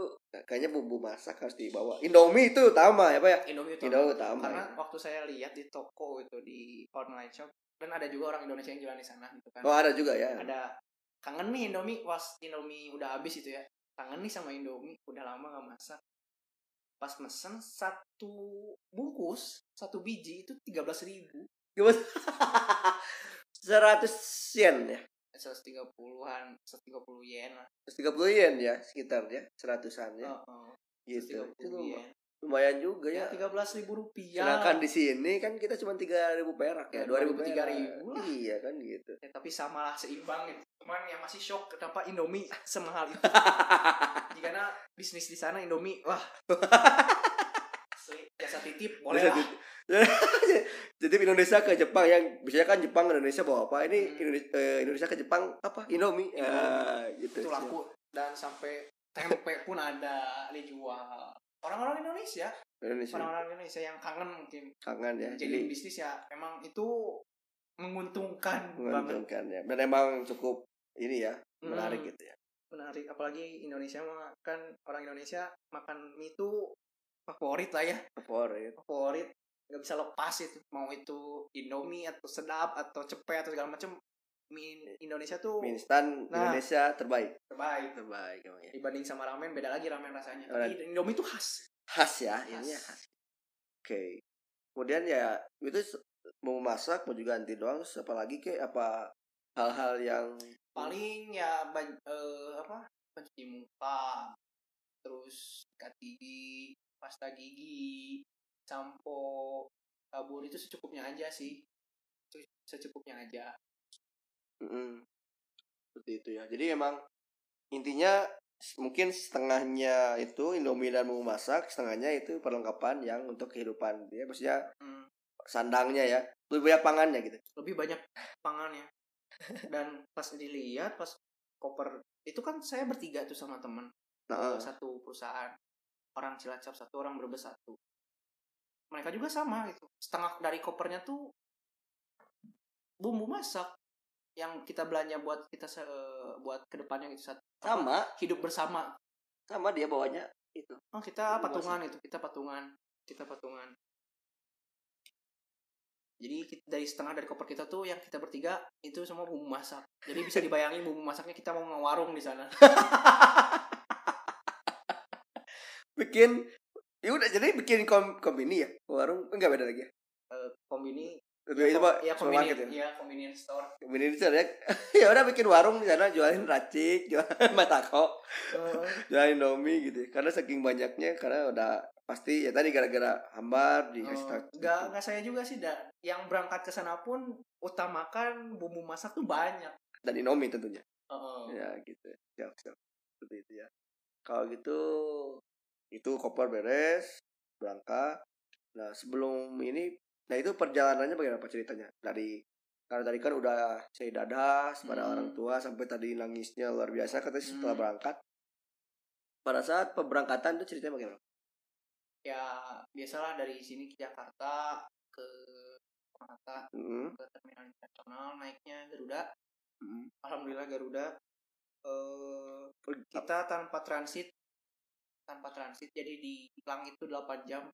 S1: kayaknya bumbu masak harus dibawa Indomie itu utama ya Pak ya
S2: Indomie utama.
S1: Indomie utama
S2: karena
S1: ya.
S2: waktu saya lihat di toko itu di online shop dan ada juga orang Indonesia yang jualan di sana gitu kan
S1: oh ada juga ya
S2: ada kangen nih Indomie was Indomie udah habis itu ya kangen nih sama Indomie udah lama gak masak pas mesen satu bungkus satu biji itu tiga belas ribu
S1: [LAUGHS] seratus yen ya
S2: Eh, seratus tiga puluhan seratus tiga puluh yen lah
S1: 130 yen ya sekitar ya seratusan ya
S2: Heeh,
S1: gitu
S2: 130
S1: itu
S2: yen.
S1: lumayan juga ya.
S2: ya tiga belas ribu rupiah
S1: Sedangkan di sini kan kita cuma 3000 perak ya,
S2: Ya,
S1: 2000 perak.
S2: 2000, 3000 lah.
S1: Iya kan gitu.
S2: Ya, tapi samalah seimbang gitu cuman ya masih shock kenapa Indomie semahal [LAUGHS] itu jika bisnis di sana Indomie wah Asli, jasa titip boleh
S1: Bisa
S2: lah
S1: titip. [LAUGHS] Jadi Indonesia ke Jepang yang biasanya kan Jepang ke Indonesia bawa apa? Ini
S2: Hmm.
S1: Indonesia, eh, Indonesia ke Jepang apa? Indomie.
S2: Indomie.
S1: Ah, gitu.
S2: itu laku dan sampai tempe pun ada dijual orang-orang Indonesia
S1: Indonesia.
S2: orang-orang Indonesia yang kangen mungkin
S1: Kangen ya.
S2: jadi
S1: Jadi
S2: bisnis Iya. ya emang itu menguntungkan, banget
S1: menguntungkan ya. Dan emang cukup ini ya,
S2: Hmm,
S1: menarik gitu ya.
S2: menarik apalagi Indonesia mah kan orang Indonesia makan mie itu favorit lah ya
S1: Favorit.
S2: favorit nggak bisa lepas itu mau itu Indomie atau sedap atau cepet atau segala macam mie Indonesia tuh
S1: Mie instan
S2: Nah.
S1: Indonesia terbaik.
S2: terbaik
S1: Terbaik emang ya.
S2: dibanding sama ramen beda lagi ramen rasanya
S1: Orang-
S2: tapi Indomie tuh khas
S1: Khas ya, ininya khas. Oke. Kemudian ya itu s- mau masak mau juga ganti doang terus apalagi kayak apa hal-hal yang
S2: paling ya ban- eh, apa pencuci muka terus sikat gigi pasta gigi sampo sabun itu secukupnya aja sih Se- secukupnya aja
S1: Mm-mm. seperti itu ya. Jadi emang intinya s- mungkin setengahnya itu Indomie dan mau masak, setengahnya itu perlengkapan yang untuk kehidupan dia maksudnya
S2: Hmm,
S1: sandangnya ya. Lebih banyak pangannya gitu.
S2: lebih banyak pangannya dan pas dilihat pas koper itu kan saya bertiga tuh sama temen
S1: Nah,
S2: satu perusahaan orang cilacap satu orang berbes satu mereka juga sama gitu setengah dari kopernya tuh bumbu masak yang kita belanja buat kita se buat kedepannya gitu satu
S1: sama
S2: hidup bersama
S1: sama dia bawanya itu.
S2: oh kita
S1: Bumbu
S2: patungan itu kita patungan kita patungan jadi kit- dari setengah dari koper kita tuh yang kita bertiga itu semua bumbu masak jadi bisa dibayangin bumbu masaknya kita mau ngewarung di sana
S1: Bikin ya udah jadi bikin kom kombini ya warung enggak beda lagi ya
S2: Eh, kombini
S1: Lebih itu pak
S2: ya
S1: supermarket
S2: kombini
S1: ya? iya.
S2: ya convenience
S1: [LAUGHS]
S2: store
S1: Kemudian di sana ya udah bikin warung di sana jualin racik, jualan [LAUGHS] batako,
S2: Eh,
S1: jualin indomie gitu. ya. Karena saking banyaknya karena udah pasti ya tadi gara-gara hambar di hashtag.
S2: Oh, Enggak, enggak Eh, saya juga sih, Da. Yang berangkat ke sana pun utamakan bumbu masak tuh banyak.
S1: dan indomie tentunya.
S2: Heeh.
S1: Ya gitu. Siap, siap. Seperti itu ya. Kalau gitu itu koper beres, berangkat. Nah, sebelum ini nah itu perjalanannya bagaimana Pak ceritanya? Dari karena tadi kan udah saya dadah pada
S2: Hmm.
S1: orang tua sampai tadi nangisnya luar biasa katanya setelah
S2: Hmm.
S1: berangkat. Pada saat pemberangkatan itu ceritanya bagaimana?
S2: Ya, biasalah dari sini ke Jakarta ke Jakarta
S1: Mm-mm.
S2: ke terminal internasional naiknya Garuda. Hmm. Alhamdulillah Garuda. Eh, kita tanpa transit tanpa transit jadi di langit itu 8 jam.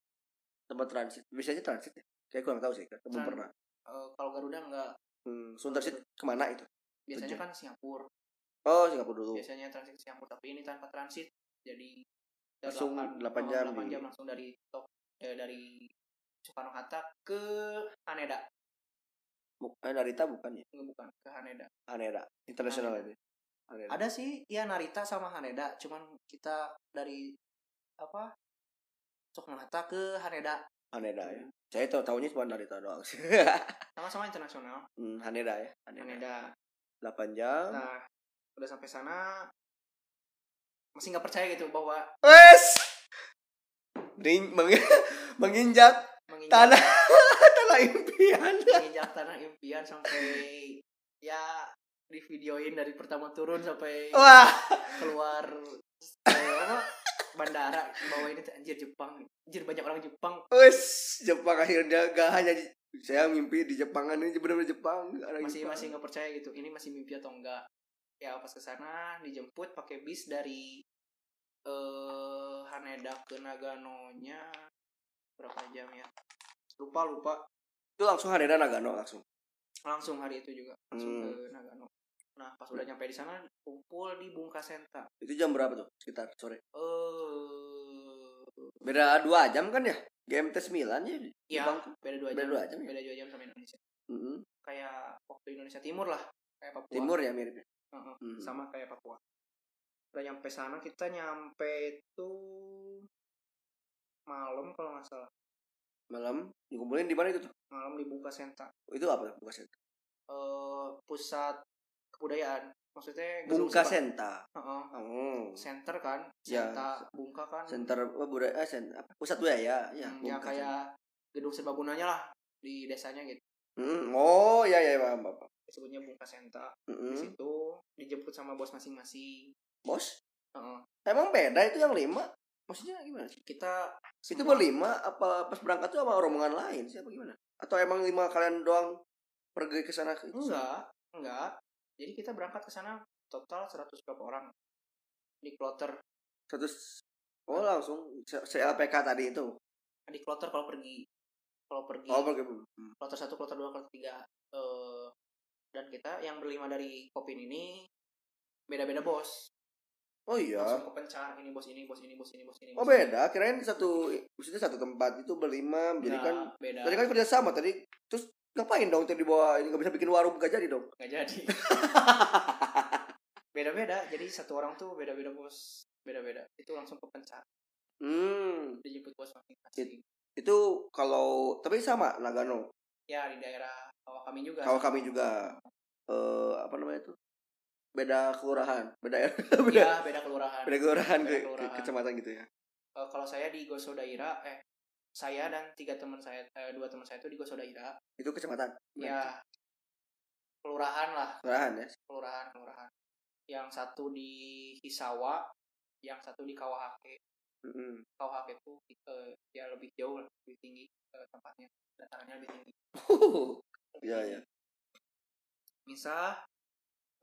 S1: Tempat transit. Biasanya transit ya? Kayak kurang tahu sih, kan belum
S2: Tran-
S1: pernah.
S2: Eh, kalau Garuda enggak
S1: Hmm, sebelum transit kemana itu?
S2: biasanya
S1: Tujuh.
S2: kan Singapura.
S1: Oh, Singapura dulu.
S2: biasanya transit ke Singapura tapi ini tanpa transit jadi udah
S1: Langsung
S2: delapan-
S1: delapan
S2: oh,
S1: jam
S2: delapan
S1: di-
S2: jam langsung dari Tok eh, dari Soekarno Hatta ke Haneda
S1: Bu- Eh, Narita bukan ya?
S2: Nggak, bukan ke Haneda
S1: Haneda internasional
S2: Haneda.
S1: itu. Haneda.
S2: ada sih ya Narita sama Haneda cuman kita dari apa Soekarno Hatta ke Haneda
S1: Haneda ya. Saya tahu tahunya cuma Narita doang sih. [LAUGHS]
S2: sama-sama internasional
S1: hmm, Haneda ya. Haneda.
S2: Haneda
S1: 8 jam.
S2: nah udah sampai sana masih nggak percaya gitu bahwa
S1: Wes. Mending meng- [LAUGHS] menginjak
S2: menginjak
S1: tanah [LAUGHS] tanah
S2: [LAUGHS]
S1: impian.
S2: menginjak tanah impian sampai ya di videoin dari pertama turun sampai
S1: Wah,
S2: keluar eh, apa, bandara bawah ini tuh, anjir Jepang anjir banyak orang Jepang
S1: wes Jepang akhirnya gak hanya di- saya mimpi di Jepang ini benar-benar Jepang. orang
S2: masih
S1: Jepang.
S2: masih nggak percaya gitu ini masih mimpi atau enggak ya pas ke sana dijemput pakai bis dari eh Haneda ke Nagano-nya berapa jam ya lupa lupa
S1: itu langsung Haneda Nagano langsung.
S2: langsung hari itu juga langsung
S1: Hmm.
S2: ke Nagano nah pas udah nyampe di sana kumpul di Bungkasenta
S1: Itu jam berapa tuh? Sekitar sore.
S2: eh
S1: Beda 2 jam kan ya? GMT 9 ya?
S2: ya
S1: Jepang
S2: beda dua
S1: beda
S2: jam
S1: dua jam ya?
S2: beda dua jam sama Indonesia
S1: Mm-mm.
S2: kayak waktu Indonesia Timur lah kayak Papua
S1: Timur ya miripnya.
S2: Heeh,
S1: Mhm.
S2: sama kayak Papua udah nyampe sana kita nyampe itu 4 malam kalau nggak salah
S1: malam dikumpulin di mana itu tuh
S2: malam dibuka senta
S1: itu apa tuh buka senta
S2: eh pusat kebudayaan maksudnya gedung
S1: bungka
S2: sepa-
S1: senta
S2: Heeh.
S1: oh
S2: center kan
S1: Ya,
S2: senta bungka kan
S1: center apa budaya eh, sen- apa, pusat budaya ya
S2: Hmm, ya
S1: Bungka Senta.
S2: kayak gedung serbaguna-nya lah di desanya gitu
S1: Mm, oh ya ya paham paham
S2: disebutnya bungka senta di
S1: Mm-mm.
S2: situ dijemput sama bos masing-masing
S1: bos
S2: Heeh.
S1: emang beda itu yang lima maksudnya gimana sih
S2: kita
S1: itu
S2: semua-
S1: berlima apa pas berangkat tuh sama rombongan lain siapa gimana atau emang lima kalian doang pergi ke sana ke-
S2: Enggak, enggak. Jadi kita berangkat ke sana total 100 berapa orang di kloter.
S1: satu oh langsung se- CLPK tadi itu
S2: Di kloter kalau pergi kalau pergi
S1: oh pergi
S2: kloter 1, kloter 2, kloter 3 eh dan kita yang berlima dari Kopin ini beda-beda bos.
S1: oh iya
S2: Langsung kepencar ini bos ini, bos ini, bos ini, bos ini.
S1: oh
S2: bos ini.
S1: beda kirain satu maksudnya satu tempat itu berlima jadi
S2: Enggak,
S1: kan
S2: beda.
S1: tadi kan kerja sama tadi terus ngapain dong tadi bawa ini nggak bisa bikin warung gak jadi dong
S2: Nggak
S1: [LAUGHS]
S2: jadi. beda-beda. Jadi satu orang tuh beda-beda bos, beda-beda. Itu langsung kepencar.
S1: hmm
S2: Dijemput bos masing-masing.
S1: itu kalau tapi sama Nagano
S2: Ya di daerah kawah kami juga.
S1: kalau kami juga eh apa namanya itu beda kelurahan beda ya? [LAUGHS] beda
S2: Iya, beda kelurahan.
S1: beda kelurahan,
S2: Beda
S1: ke- ke-
S2: kelurahan.
S1: kecamatan gitu ya
S2: Eh, kalau saya di Gosodaira, eh saya dan tiga teman saya, eh, dua teman saya itu di Gosodaira.
S1: itu kecamatan
S2: Ya, kelurahan lah,
S1: kelurahan ya
S2: kelurahan, kelurahan. Yang satu di Hisawa, yang satu di Kawahake. [LAUGHS]
S1: Mm-mm.
S2: Kawahake itu eh, ya lebih jauh, lah, lebih tinggi eh, tempatnya, datarannya lebih tinggi.
S1: Iya, iya.
S2: Misah,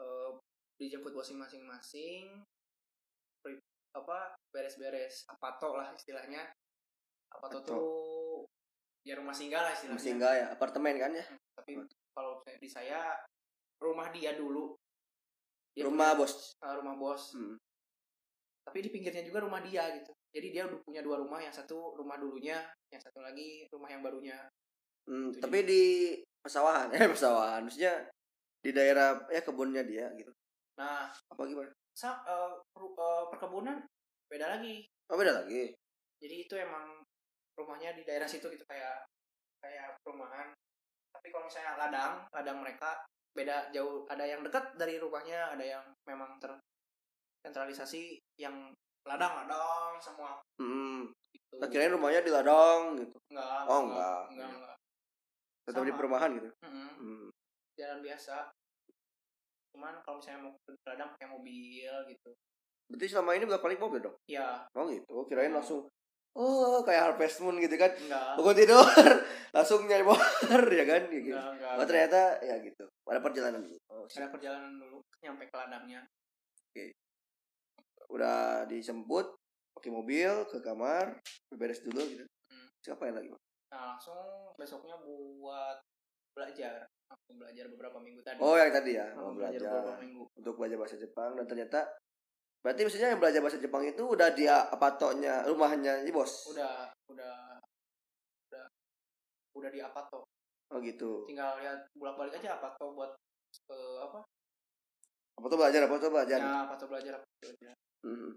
S2: eh, dijemput washing masing-masing, pri- apa beres-beres apato lah istilahnya. Apato,
S1: Apato.
S2: tuh ya rumah singgah lah istilahnya.
S1: masih enggak ya apartemen kan ya
S2: Tapi kalau saya- di saya rumah dia dulu. Dia
S1: rumah
S2: punya,
S1: bos
S2: eh, rumah bos.
S1: Hmm.
S2: Tapi di pinggirnya juga rumah dia gitu. Jadi dia udah punya dua rumah, yang satu rumah dulunya, yang satu lagi rumah yang barunya.
S1: Hmm,
S2: Itu
S1: tapi di pesawahan eh pesawahan maksudnya di daerah ya kebunnya dia gitu
S2: Nah,
S1: apa gimana
S2: sa- eh, ru- eh, perkebunan beda lagi.
S1: oh beda lagi
S2: jadi itu emang rumahnya di daerah situ gitu kayak kayak perumahan tapi kalau misalnya ladang ladang mereka beda jauh ada yang dekat dari rumahnya ada yang memang tersentralisasi yang ladang ladang semua
S1: hmm.
S2: gitu
S1: Nah, kirain rumahnya di ladang gitu
S2: enggak
S1: Oh,
S2: enggak
S1: enggak.
S2: enggak, enggak.
S1: tetap di
S2: Sama.
S1: perumahan gitu
S2: Mm-mm,
S1: hmm.
S2: jalan biasa cuman kalau misalnya mau ke ladang pakai mobil gitu
S1: berarti selama ini bolak balik mobil dong
S2: ya
S1: oh gitu kirain langsung oh kayak harvest moon gitu kan
S2: enggak
S1: bangun tidur [LAUGHS] langsung nyari motor [LAUGHS] ya kan Ya gitu.
S2: enggak enggak
S1: Oh, ternyata ya gitu ada perjalanan dulu oh, sip.
S2: ada perjalanan dulu nyampe ke ladangnya
S1: udah disebut pakai mobil ke kamar beres dulu gitu
S2: Hmm.
S1: siapa yang lagi
S2: Nah, langsung besoknya buat belajar. Aku belajar beberapa minggu tadi.
S1: oh yang tadi ya
S2: Aku
S1: mau
S2: belajar beberapa
S1: belajar
S2: minggu.
S1: untuk belajar bahasa Jepang dan ternyata berarti maksudnya yang belajar bahasa Jepang itu udah dia apatonya rumahnya ini bos
S2: Udah, udah, udah, udah di Apato.
S1: oh gitu
S2: Tinggal lihat bolak-balik aja Apato buat eh, apa?
S1: apa tuh belajar apa tuh belajar
S2: Ya, Apato belajar, Apato belajar.
S1: Hmm.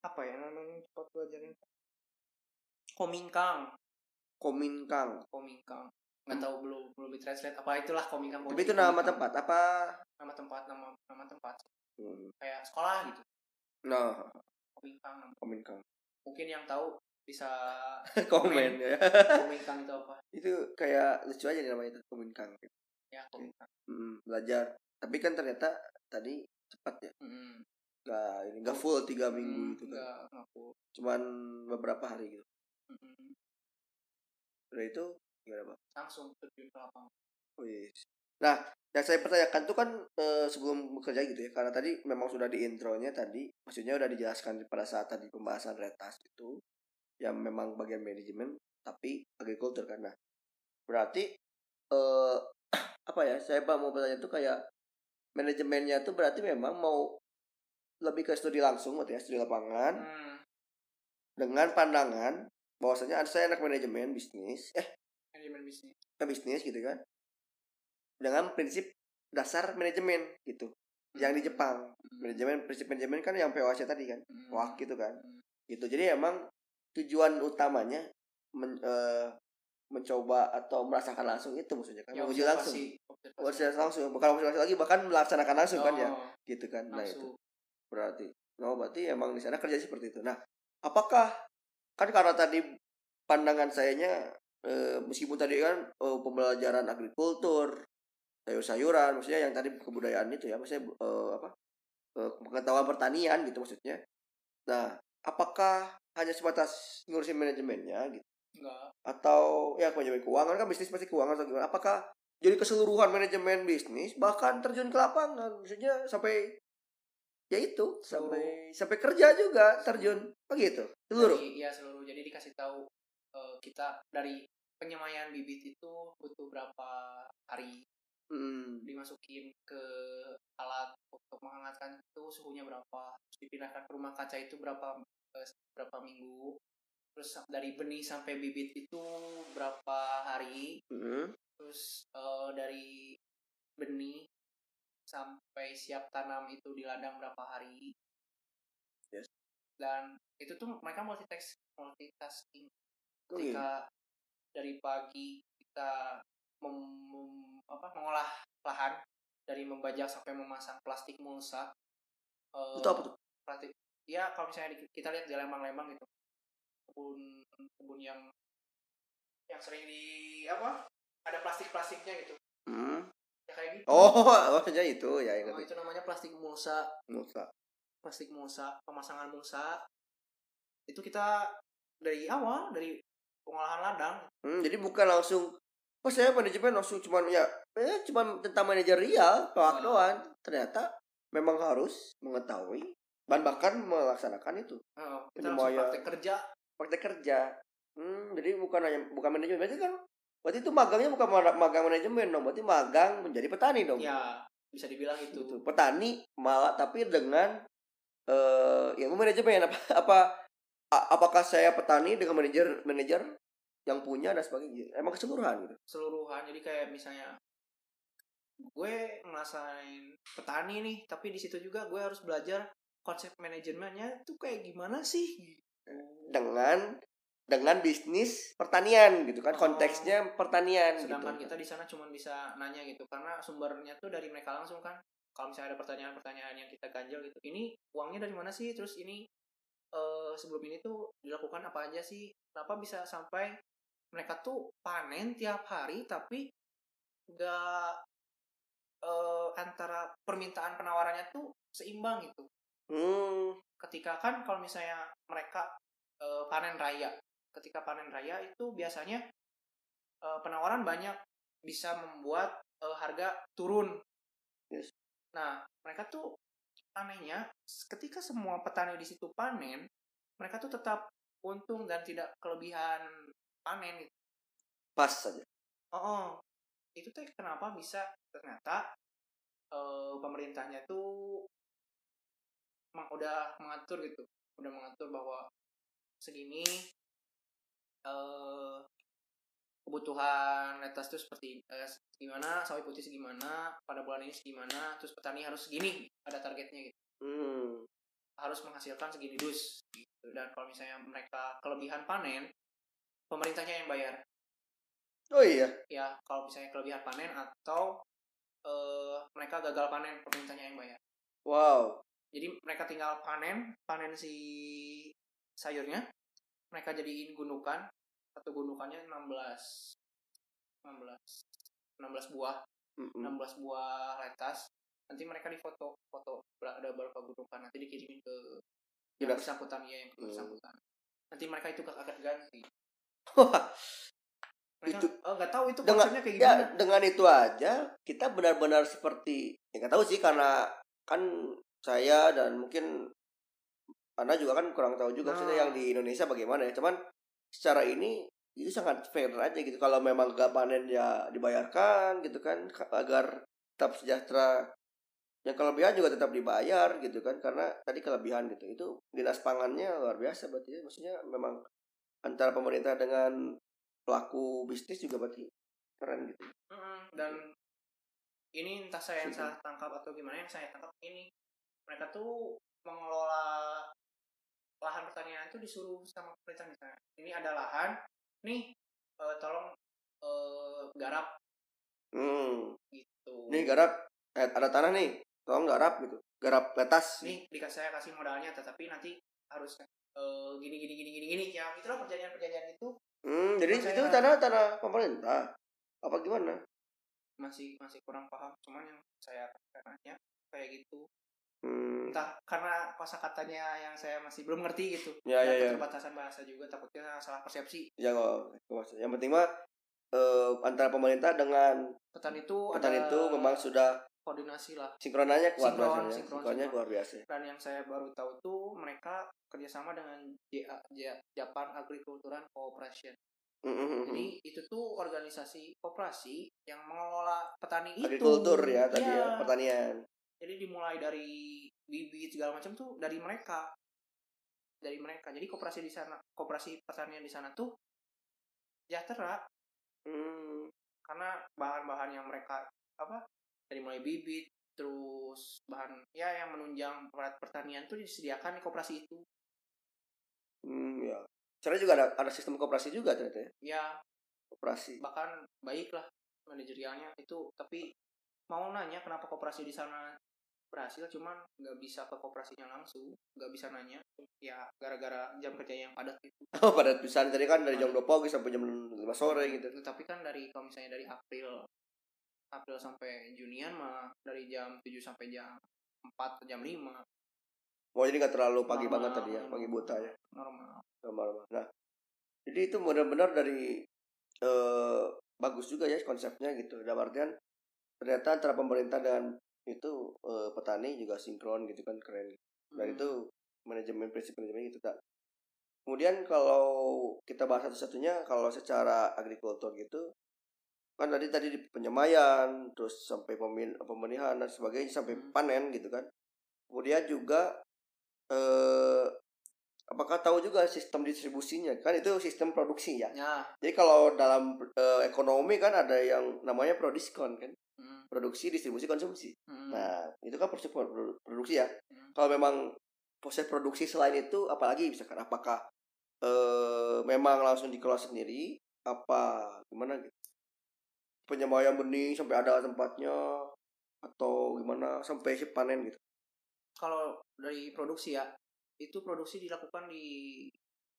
S2: Apa ya namanya Apato belajarnya? Komingkang,
S1: Komingkang
S2: Komingkang. Nggak tahu belum belum di translate apa itulah Komingkang.
S1: tapi itu nama
S2: Komingkang.
S1: tempat apa
S2: Nama tempat, nama nama tempat.
S1: Hmm.
S2: Kayak sekolah gitu.
S1: nah
S2: Komingkang.
S1: Komingkang
S2: Mungkin yang tahu bisa
S1: [LAUGHS] komen ya
S2: Komingkang itu apa?
S1: itu kayak lucu aja nih namanya itu Komingkang
S2: Ya, Komingkang.
S1: Hmm, belajar tapi kan ternyata tadi cepat ya
S2: Mm.
S1: nggak ini nggak full tiga
S2: Hmm,
S1: minggu itu kan
S2: enggak ngaku
S1: cuman beberapa hari gitu
S2: Mm-mm.
S1: udah itu gimana Bang?
S2: langsung terjun ke lapangan
S1: Wih. Oh, nah yang saya pertanyakan tuh kan eh, sebelum bekerja gitu ya karena tadi memang sudah di intronya tadi maksudnya udah dijelaskan pada saat tadi pembahasan retas itu yang memang bagian manajemen tapi agrikultur kan nah berarti eh [CLEARS THROAT] apa ya saya Bang, mau bertanya tuh kayak manajemennya tuh berarti memang mau lebih ke studi langsung gitu ya studi lapangan
S2: hmm.
S1: dengan pandangan bahwasanya ada saya anak manajemen bisnis eh
S2: manajemen bisnis
S1: anak bisnis gitu kan dengan prinsip dasar manajemen gitu yang di Jepang
S2: Hmm.
S1: manajemen prinsip manajemen kan yang POC tadi kan
S2: Hmm.
S1: wah gitu kan
S2: Hmm.
S1: gitu jadi emang tujuan utamanya men- eh, mencoba atau merasakan langsung itu maksudnya kan menguji langsung
S2: Ya, observasi
S1: observasi langsung bukan observasi lagi bahkan melaksanakan langsung kan ya
S2: Oh,
S1: gitu kan nah itu
S2: langsung.
S1: berarti no berarti emang di sana kerja seperti itu nah apakah kan karena tadi pandangan sayanya eh, meskipun tadi kan eh, pembelajaran agrikultur sayur-sayuran maksudnya yang tadi kebudayaan itu ya maksudnya eh, apa eh, pengetahuan pertanian gitu maksudnya nah apakah hanya sebatas ngurusin manajemennya gitu
S2: Enggak.
S1: atau ya manajemen keuangan kan bisnis pasti keuangan atau gimana apakah jadi keseluruhan manajemen bisnis bahkan terjun ke lapangan maksudnya sampai ya itu sampai sampai kerja juga terjun begitu seluruh
S2: Jadi, ya seluruh. Jadi dikasih tahu eh, kita dari penyemaian bibit itu butuh berapa hari
S1: Hmm.
S2: dimasukin ke alat untuk menghangatkan itu suhunya berapa terus dipindahkan ke rumah kaca itu berapa eh, berapa minggu terus sa- dari benih sampai bibit itu berapa hari
S1: Hmm.
S2: terus eh, dari benih sampai siap tanam itu di ladang berapa hari
S1: Yes.
S2: dan itu tuh mereka multitask multitasking
S1: Oh, iya.
S2: ketika dari pagi kita mem- mem- apa, mengolah lahan dari membajak sampai memasang plastik mulsa eh,
S1: itu apa tuh
S2: plastik ya kalau misalnya di- kita lihat di lembang-lembang gitu kebun kebun yang yang sering di apa ada plastik-plastiknya gitu
S1: Hmm.
S2: ya kayak gitu
S1: oh [LAUGHS] maksudnya itu ya yang
S2: Nah,
S1: ngerti
S2: itu namanya plastik mulsa
S1: Musa.
S2: plastik mulsa, pemasangan mulsa itu kita dari awal dari pengolahan ladang
S1: Hmm, jadi bukan langsung oh saya manajemen langsung cuman ya eh, cuman tentang manajerial
S2: Ah.
S1: doang doang ternyata memang harus mengetahui dan bahkan melaksanakan itu
S2: eh, kita langsung
S1: Lumayan.
S2: praktek kerja
S1: praktek kerja. Hmm, jadi bukan hanya bukan manajemen. Berarti kan berarti itu magangnya bukan ma- magang manajemen dong. Berarti magang menjadi petani dong.
S2: ya bisa dibilang itu
S1: Iya. Gitu. Petani malah tapi dengan eh ilmu manajemen apa apa a- apakah saya petani dengan manajer manajer yang punya dan sebagainya emang keseluruhan gitu.
S2: seluruhan jadi kayak misalnya gue ngerasain petani nih tapi di situ juga gue harus belajar konsep manajemennya tuh kayak gimana sih Oh.
S1: dengan dengan bisnis pertanian gitu kan
S2: Oh.
S1: konteksnya pertanian
S2: sedangkan
S1: gitu.
S2: kita di sana cuma bisa nanya gitu karena sumbernya tuh dari mereka langsung kan kalau misalnya ada pertanyaan-pertanyaan yang kita ganjel gitu ini uangnya dari mana sih terus ini eh, sebelum ini tuh dilakukan apa aja sih kenapa bisa sampai mereka tuh panen tiap hari tapi nggak eh, antara permintaan penawarannya tuh seimbang gitu
S1: Hmm,
S2: ketika kan kalau misalnya mereka eh, panen raya ketika panen raya itu biasanya eh, penawaran banyak bisa membuat eh, harga turun
S1: Yes.
S2: nah mereka tuh anehnya ketika semua petani di situ panen mereka tuh tetap untung dan tidak kelebihan panen gitu.
S1: pas saja.
S2: oh, oh. itu tuh kenapa bisa ternyata eh, pemerintahnya tuh emang udah mengatur gitu udah mengatur bahwa segini eh kebutuhan netas itu seperti eh, gimana sawi putih segimana pada bulan ini segimana terus petani harus segini ada targetnya gitu
S1: Hmm.
S2: harus menghasilkan segini dus gitu. dan kalau misalnya mereka kelebihan panen pemerintahnya yang bayar
S1: Oh iya.
S2: ya kalau misalnya kelebihan panen atau eh mereka gagal panen pemerintahnya yang bayar
S1: Wow.
S2: jadi mereka tinggal panen panen si sayurnya mereka jadiin gundukan satu gundukannya 16 16 16 buah
S1: Mm-mm.
S2: 16 buah letas nanti mereka difoto foto ber- ada berapa gundukan nanti dikirimin ke yang
S1: Jelas.
S2: bersangkutan ya yang
S1: Hmm.
S2: bersangkutan nanti mereka itu akan ganti
S1: [LAUGHS] Wah,
S2: mereka
S1: Itu-
S2: oh, nggak tahu itu
S1: Dengan-
S2: konsepnya kayak gimana
S1: ya dengan itu aja kita benar-benar seperti ya nggak tahu sih karena kan saya dan mungkin anda juga kan kurang tahu juga maksudnya
S2: Nah.
S1: yang di Indonesia bagaimana ya cuman secara ini itu sangat fair aja gitu kalau memang gak panen ya dibayarkan gitu kan ka- agar tetap sejahtera yang kelebihan juga tetap dibayar gitu kan karena tadi kelebihan gitu itu dinas pangannya luar biasa berarti ya. maksudnya memang antara pemerintah dengan pelaku bisnis juga berarti keren gitu
S2: Mm-mm, dan ini entah saya yang
S1: Setuju.
S2: salah tangkap atau gimana yang saya tangkap ini mereka tuh mengelola lahan pertanian itu disuruh sama pemerintah misalnya ini ada lahan nih eh, tolong eh, garap
S1: Hmm.
S2: gitu
S1: Nih garap eh, ada tanah nih. Tolong garap gitu. Garap batas.
S2: nih dikasih saya kasih modalnya tetapi nanti harus eh, gini gini gini gini gini ya itulah perjanjian perjanjian itu
S1: Hmm, jadi
S2: Percaya.
S1: itu tanah tanah pemerintah. Apa gimana?
S2: masih masih kurang paham cuman yang saya katanya kayak gitu
S1: Hmm.
S2: entah karena kosakatanya yang saya masih belum ngerti gitu
S1: Ya
S2: Dan
S1: ya ya.
S2: keterbatasan bahasa juga takutnya salah persepsi
S1: Ya nggak- nggak masalah. Yang penting mah eh, antara pemerintah dengan
S2: petani itu
S1: petani
S2: Oh, ada
S1: itu memang sudah
S2: koordinasi lah
S1: sinkronannya kuat
S2: Sinkron,
S1: biasanya.
S2: sinkron,
S1: Sinkronnya
S2: sinkron.
S1: luar biasa.
S2: dan yang saya baru tahu tuh mereka kerjasama dengan JA, Ja- Japan Agricultural Cooperation
S1: Mm-mm.
S2: jadi itu tuh organisasi koperasi yang mengelola petani itu
S1: Agrikultur ya tadi
S2: Iya.
S1: ya, pertanian.
S2: jadi dimulai dari bibit segala macam tuh dari mereka dari mereka jadi koperasi di sana koperasi pertanian di sana tuh sejahtera
S1: Hmm.
S2: karena bahan-bahan yang mereka apa dari mulai bibit terus bahan ya yang menunjang alat pertanian tuh disediakan di koperasi itu
S1: Hmm, ya. Caranya juga ada, ada sistem koperasi juga ternyata ya.
S2: ya
S1: Koperasi.
S2: bahkan baik lah manajerialnya itu tapi mau nanya kenapa koperasi di sana berhasil cuman nggak bisa ke koperasinya langsung nggak bisa nanya ya gara-gara jam kerja yang padat gitu
S1: Oh, [LAUGHS] pada pisan tadi kan dari jam 2 pagi sampai jam 5 sore gitu.
S2: tapi kan dari kalau misalnya dari April April sampai Junian mah dari jam 7 sampai jam 4 jam 5
S1: Mau jadi nggak terlalu pagi
S2: Normal,
S1: banget tadi ya,
S2: normal.
S1: pagi buta ya.
S2: normal
S1: Normal. Nah, jadi itu benar-benar dari eh, bagus juga ya konsepnya gitu. Dalam artian ternyata antara pemerintah dan itu eh, petani juga sinkron gitu kan keren.
S2: Hmm.
S1: Dan itu manajemen prinsip manajemen gitu tak. Kemudian kalau kita bahas satu-satunya kalau secara agrikultur gitu kan tadi tadi di penyemaian terus sampai pemin pembenihan dan sebagainya sampai
S2: Hmm.
S1: panen gitu kan. Kemudian juga eh apakah tahu juga sistem distribusinya kan itu sistem produksi ya.
S2: ya
S1: Jadi kalau dalam eh, ekonomi kan ada yang namanya prodiskon kan,
S2: mm,
S1: produksi, distribusi, konsumsi.
S2: mm.
S1: Nah, itu kan proses produ- produksi ya.
S2: Hmm.
S1: Kalau memang proses produksi selain itu apalagi misalkan apakah eh memang langsung dikelola sendiri apa gimana gitu. Penyemaian benih sampai ada tempatnya atau gimana sampai si panen gitu.
S2: kalau dari produksi ya itu produksi dilakukan di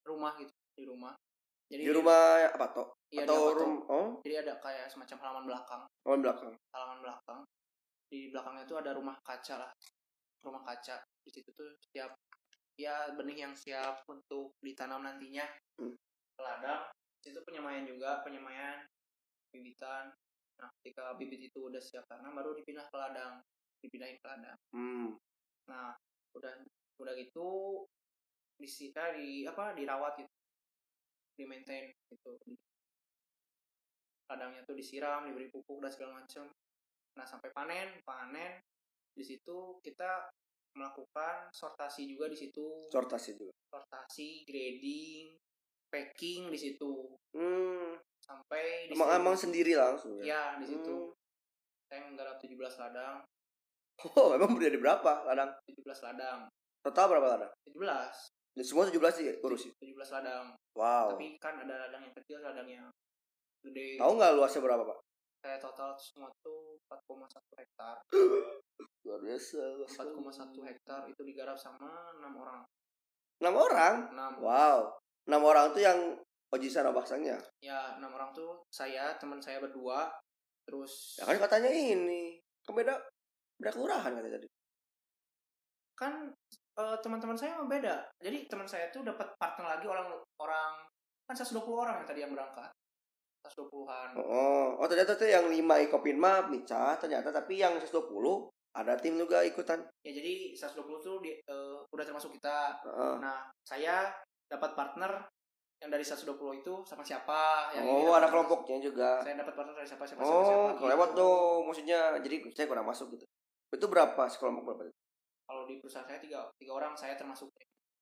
S2: rumah gitu di rumah jadi
S1: Di rumah apa toh?
S2: iya, di
S1: atau
S2: apa tuh?
S1: rum- oh,
S2: jadi ada kayak semacam halaman belakang
S1: halaman belakang.
S2: halaman belakang di belakangnya itu ada rumah kaca lah rumah kaca di situ tuh siap ya benih yang siap untuk ditanam nantinya
S1: Hmm.
S2: ladang Di situ penyemaian juga penyemaian bibitan nah ketika bibit itu udah siap tanam baru dipindah ke ladang dipindahin ke ladang
S1: Hmm.
S2: nah udah udah gitu disita di apa dirawat gitu di maintain gitu ladangnya tuh disiram diberi pupuk dan segala macam nah sampai panen panen di situ kita melakukan sortasi juga di situ
S1: Sortasi juga.
S2: sortasi grading packing di situ
S1: Hmm.
S2: sampai
S1: Emang emang
S2: distribusi.
S1: sendiri langsung ya.
S2: ya di situ
S1: Hmm.
S2: saya menggarap 17 ladang
S1: [LAUGHS] Oh, emang udah ada berapa ladang?
S2: 17 ladang
S1: Total berapa ladang?
S2: 17
S1: Ya, Semua 17 sih urusin.
S2: 17 ladang
S1: Wow.
S2: tapi kan ada ladang yang kecil ladang yang gede
S1: Tahu nggak luasnya berapa, Pak?
S2: saya total semua tuh 4,1 hektar
S1: Luar biasa.
S2: 4,1 hektar itu digarap sama enam orang
S1: 6 orang.
S2: enam
S1: Wow. 6 orang tuh yang Ojisan Abaksangnya.
S2: ya enam orang tuh saya teman saya berdua terus
S1: Ya kan katanya ini. Kan beda beda kelurahan katanya tadi.
S2: kan eh, teman-teman saya mah beda jadi teman saya tuh dapat partner lagi orang orang kan 120 orang yang tadi yang berangkat 120-an
S1: Oh, oh ternyata tuh yang 5 ikopin map Mica ternyata tapi yang 120 ada tim juga ikutan.
S2: ya jadi 120 tuh di- eh, udah termasuk kita
S1: Heeh.
S2: Nah, saya dapat partner yang dari 120 itu sama siapa? Yang ini
S1: oh,
S2: dapat
S1: ada
S2: partner-
S1: kelompoknya juga.
S2: Saya dapat partner dari siapa siapa siapa siapa.
S1: Oh,
S2: gitu.
S1: kelewat dong maksudnya. Jadi saya kurang masuk gitu. Itu berapa sekelompok berapa?
S2: Kalau di perusahaan saya tiga tiga orang saya termasuk.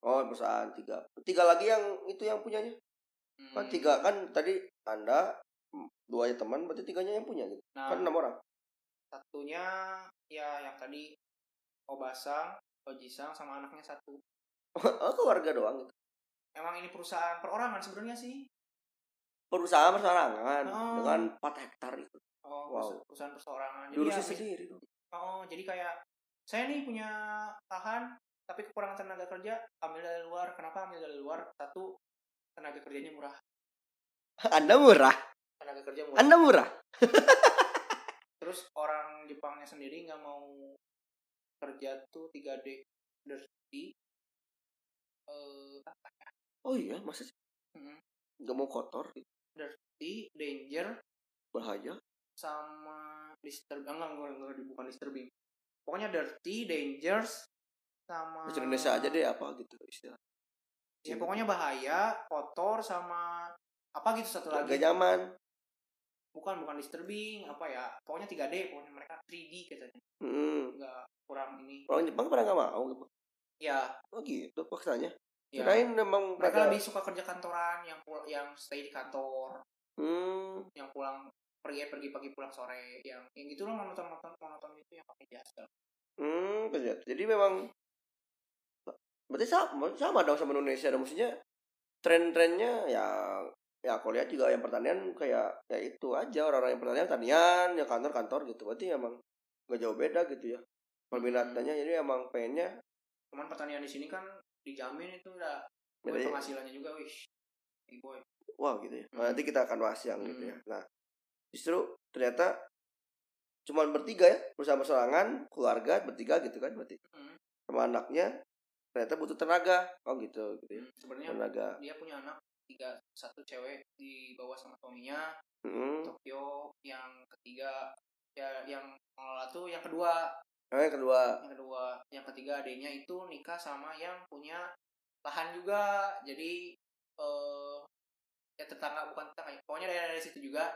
S1: Oh, perusahaan tiga. Tiga lagi yang itu yang punyanya.
S2: Hmm,
S1: Kan tiga kan tadi Anda mm, dua ya teman berarti tiganya yang punya gitu.
S2: Nah,
S1: Kan enam orang. [LAUGHS]
S2: satunya Oh ya yang tadi Obasang, Ojisang sama anaknya satu.
S1: oh, keluarga doang gitu.
S2: Emang ini perusahaan perorangan sebenarnya sih?
S1: Perusahaan persorangan
S2: Oh.
S1: dengan 4 hektar itu.
S2: Oh,
S1: Wow.
S2: perusahaan perorangan. Jadi
S1: Diurusin
S2: ya,
S1: sendiri dong. [LAUGHS]
S2: Oh, jadi kayak saya nih punya lahan tapi kekurangan tenaga kerja, ambil dari luar. Kenapa ambil dari luar? Satu tenaga kerjanya murah.
S1: Anda murah,
S2: Tenaga kerja murah.
S1: Anda murah.
S2: Terus orang Jepangnya sendiri nggak mau kerja tuh 3D dirty. Eh, apa ya?
S1: Oh iya, masa sih?
S2: Mm,
S1: Gak mau kotor, gitu.
S2: dirty, danger
S1: bahaya.
S2: sama Ah, disturb enggak, enggak, enggak, enggak, bukan disturbing. Pokoknya dirty, dangers sama
S1: Bahasa Indonesia aja deh apa gitu istilah.
S2: Ya pokoknya bahaya, kotor sama apa gitu satu
S1: Gak
S2: lagi.
S1: nyaman.
S2: Bukan bukan disturbing, apa ya? Pokoknya 3D, pokoknya mereka 3D katanya.
S1: Mm-mm.
S2: Enggak kurang ini.
S1: Hmm. Orang Jepang pada gak mau gitu.
S2: Ya,
S1: Oh gitu paksanya.
S2: ya.
S1: Kirain memang pada-
S2: mereka lebih suka kerja kantoran yang pul- yang stay di kantor,
S1: Hmm.
S2: yang pulang pergi pergi pagi pulang sore, yang yang gitu loh monoton monoton monoton itu yang pakai jasa.
S1: Hmm, kerja. Jadi memang berarti sama, sama dong sama Indonesia. Dan maksudnya tren-trennya ya ya aku lihat juga yang pertanian kayak ya itu aja orang-orang yang pertanian pertanian ya kantor-kantor gitu. Berarti emang gak jauh beda gitu ya peminatannya. Jadi emang pengennya
S2: Cuman pertanian di sini kan dijamin itu udah buat
S1: Jadi-
S2: penghasilannya juga, wish. Eh, boy.
S1: wow gitu ya. Nah, nanti kita akan bahas yang gitu ya. Nah justru ternyata cuman bertiga ya bersama sorangan keluarga bertiga gitu kan berarti
S2: Hmm.
S1: sama anaknya ternyata butuh tenaga oh gitu gitu ya.
S2: Hmm, Sebenarnya
S1: tenaga
S2: dia punya anak tiga satu cewek di bawah sama suaminya
S1: Hmm.
S2: Tokyo yang ketiga ya yang ngelola tuh yang kedua
S1: Nah, yang kedua
S2: yang kedua yang ketiga adiknya itu nikah sama yang punya lahan juga jadi eh ya tetangga bukan tetangga ya. pokoknya dari dari situ juga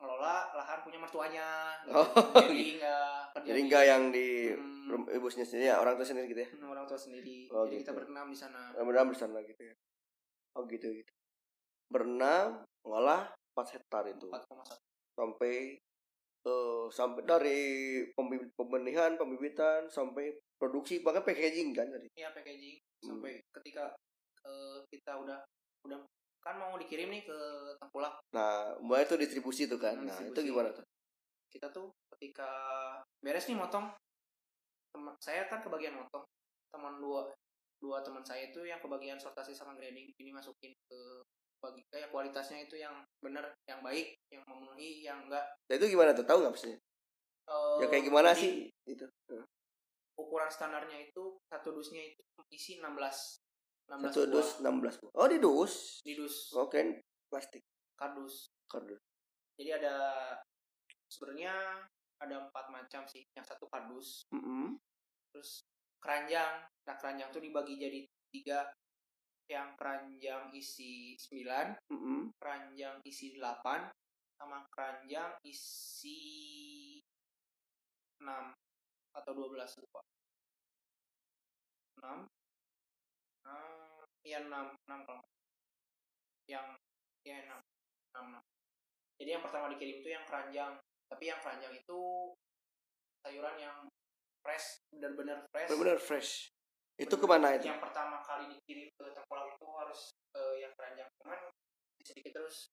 S2: ngelola lahan punya mertuanya Gitu.
S1: Oh, iya.
S2: jadi nggak kerja
S1: jadi
S2: di-
S1: nggak yang di
S2: Iya. Hmm,
S1: rum- ibunya sendiri ya orang tua sendiri gitu ya
S2: orang tua sendiri
S1: Oh,
S2: jadi kita
S1: gitu.
S2: berenam di sana
S1: mudah-mudahan bersama gitu ya oh gitu gitu berenam ngolah 4 hektar itu
S2: 4,1
S1: sampai eh, sampai dari pembi- pembenihan pembibitan sampai produksi bahkan packaging kan tadi
S2: ya packaging
S1: Hmm.
S2: sampai ketika eh, kita udah udah kan mau dikirim nih ke Tengkulak
S1: nah mulai itu distribusi tuh kan
S2: Hmm,
S1: nah itu
S2: distribusi.
S1: gimana tuh
S2: kita tuh ketika beres nih motong teman saya kan kebagian motong teman dua dua teman saya itu yang kebagian sortasi sama grading ini masukin ke bagi kayak kualitasnya itu yang bener yang baik yang memenuhi yang enggak
S1: nah itu gimana tuh tahu nggak maksudnya
S2: eh,
S1: ya kayak gimana
S2: jadi
S1: sih Gitu. Nah, itu
S2: ukuran standarnya itu satu dusnya itu isi 16 16
S1: satu
S2: buah
S1: dus Oh. 16 buah. oh di dus
S2: di dus
S1: oke plastik
S2: kardus
S1: kardus
S2: jadi ada sebenarnya ada empat macam sih yang satu kardus
S1: Mm-mm.
S2: terus keranjang nah keranjang tuh dibagi jadi tiga yang keranjang isi 9
S1: Mm-mm.
S2: keranjang isi 8 sama keranjang isi 6 atau 12 lupa 6 6 ya 6 6 kalau nggak- yang ya 6 6 jadi yang pertama dikirim itu yang keranjang tapi yang keranjang itu sayuran yang fresh benar-benar fresh
S1: benar-benar fresh itu kemana itu
S2: yang pertama kali dikirim ke Tengkulak itu harus eh, yang keranjang cuman sedikit terus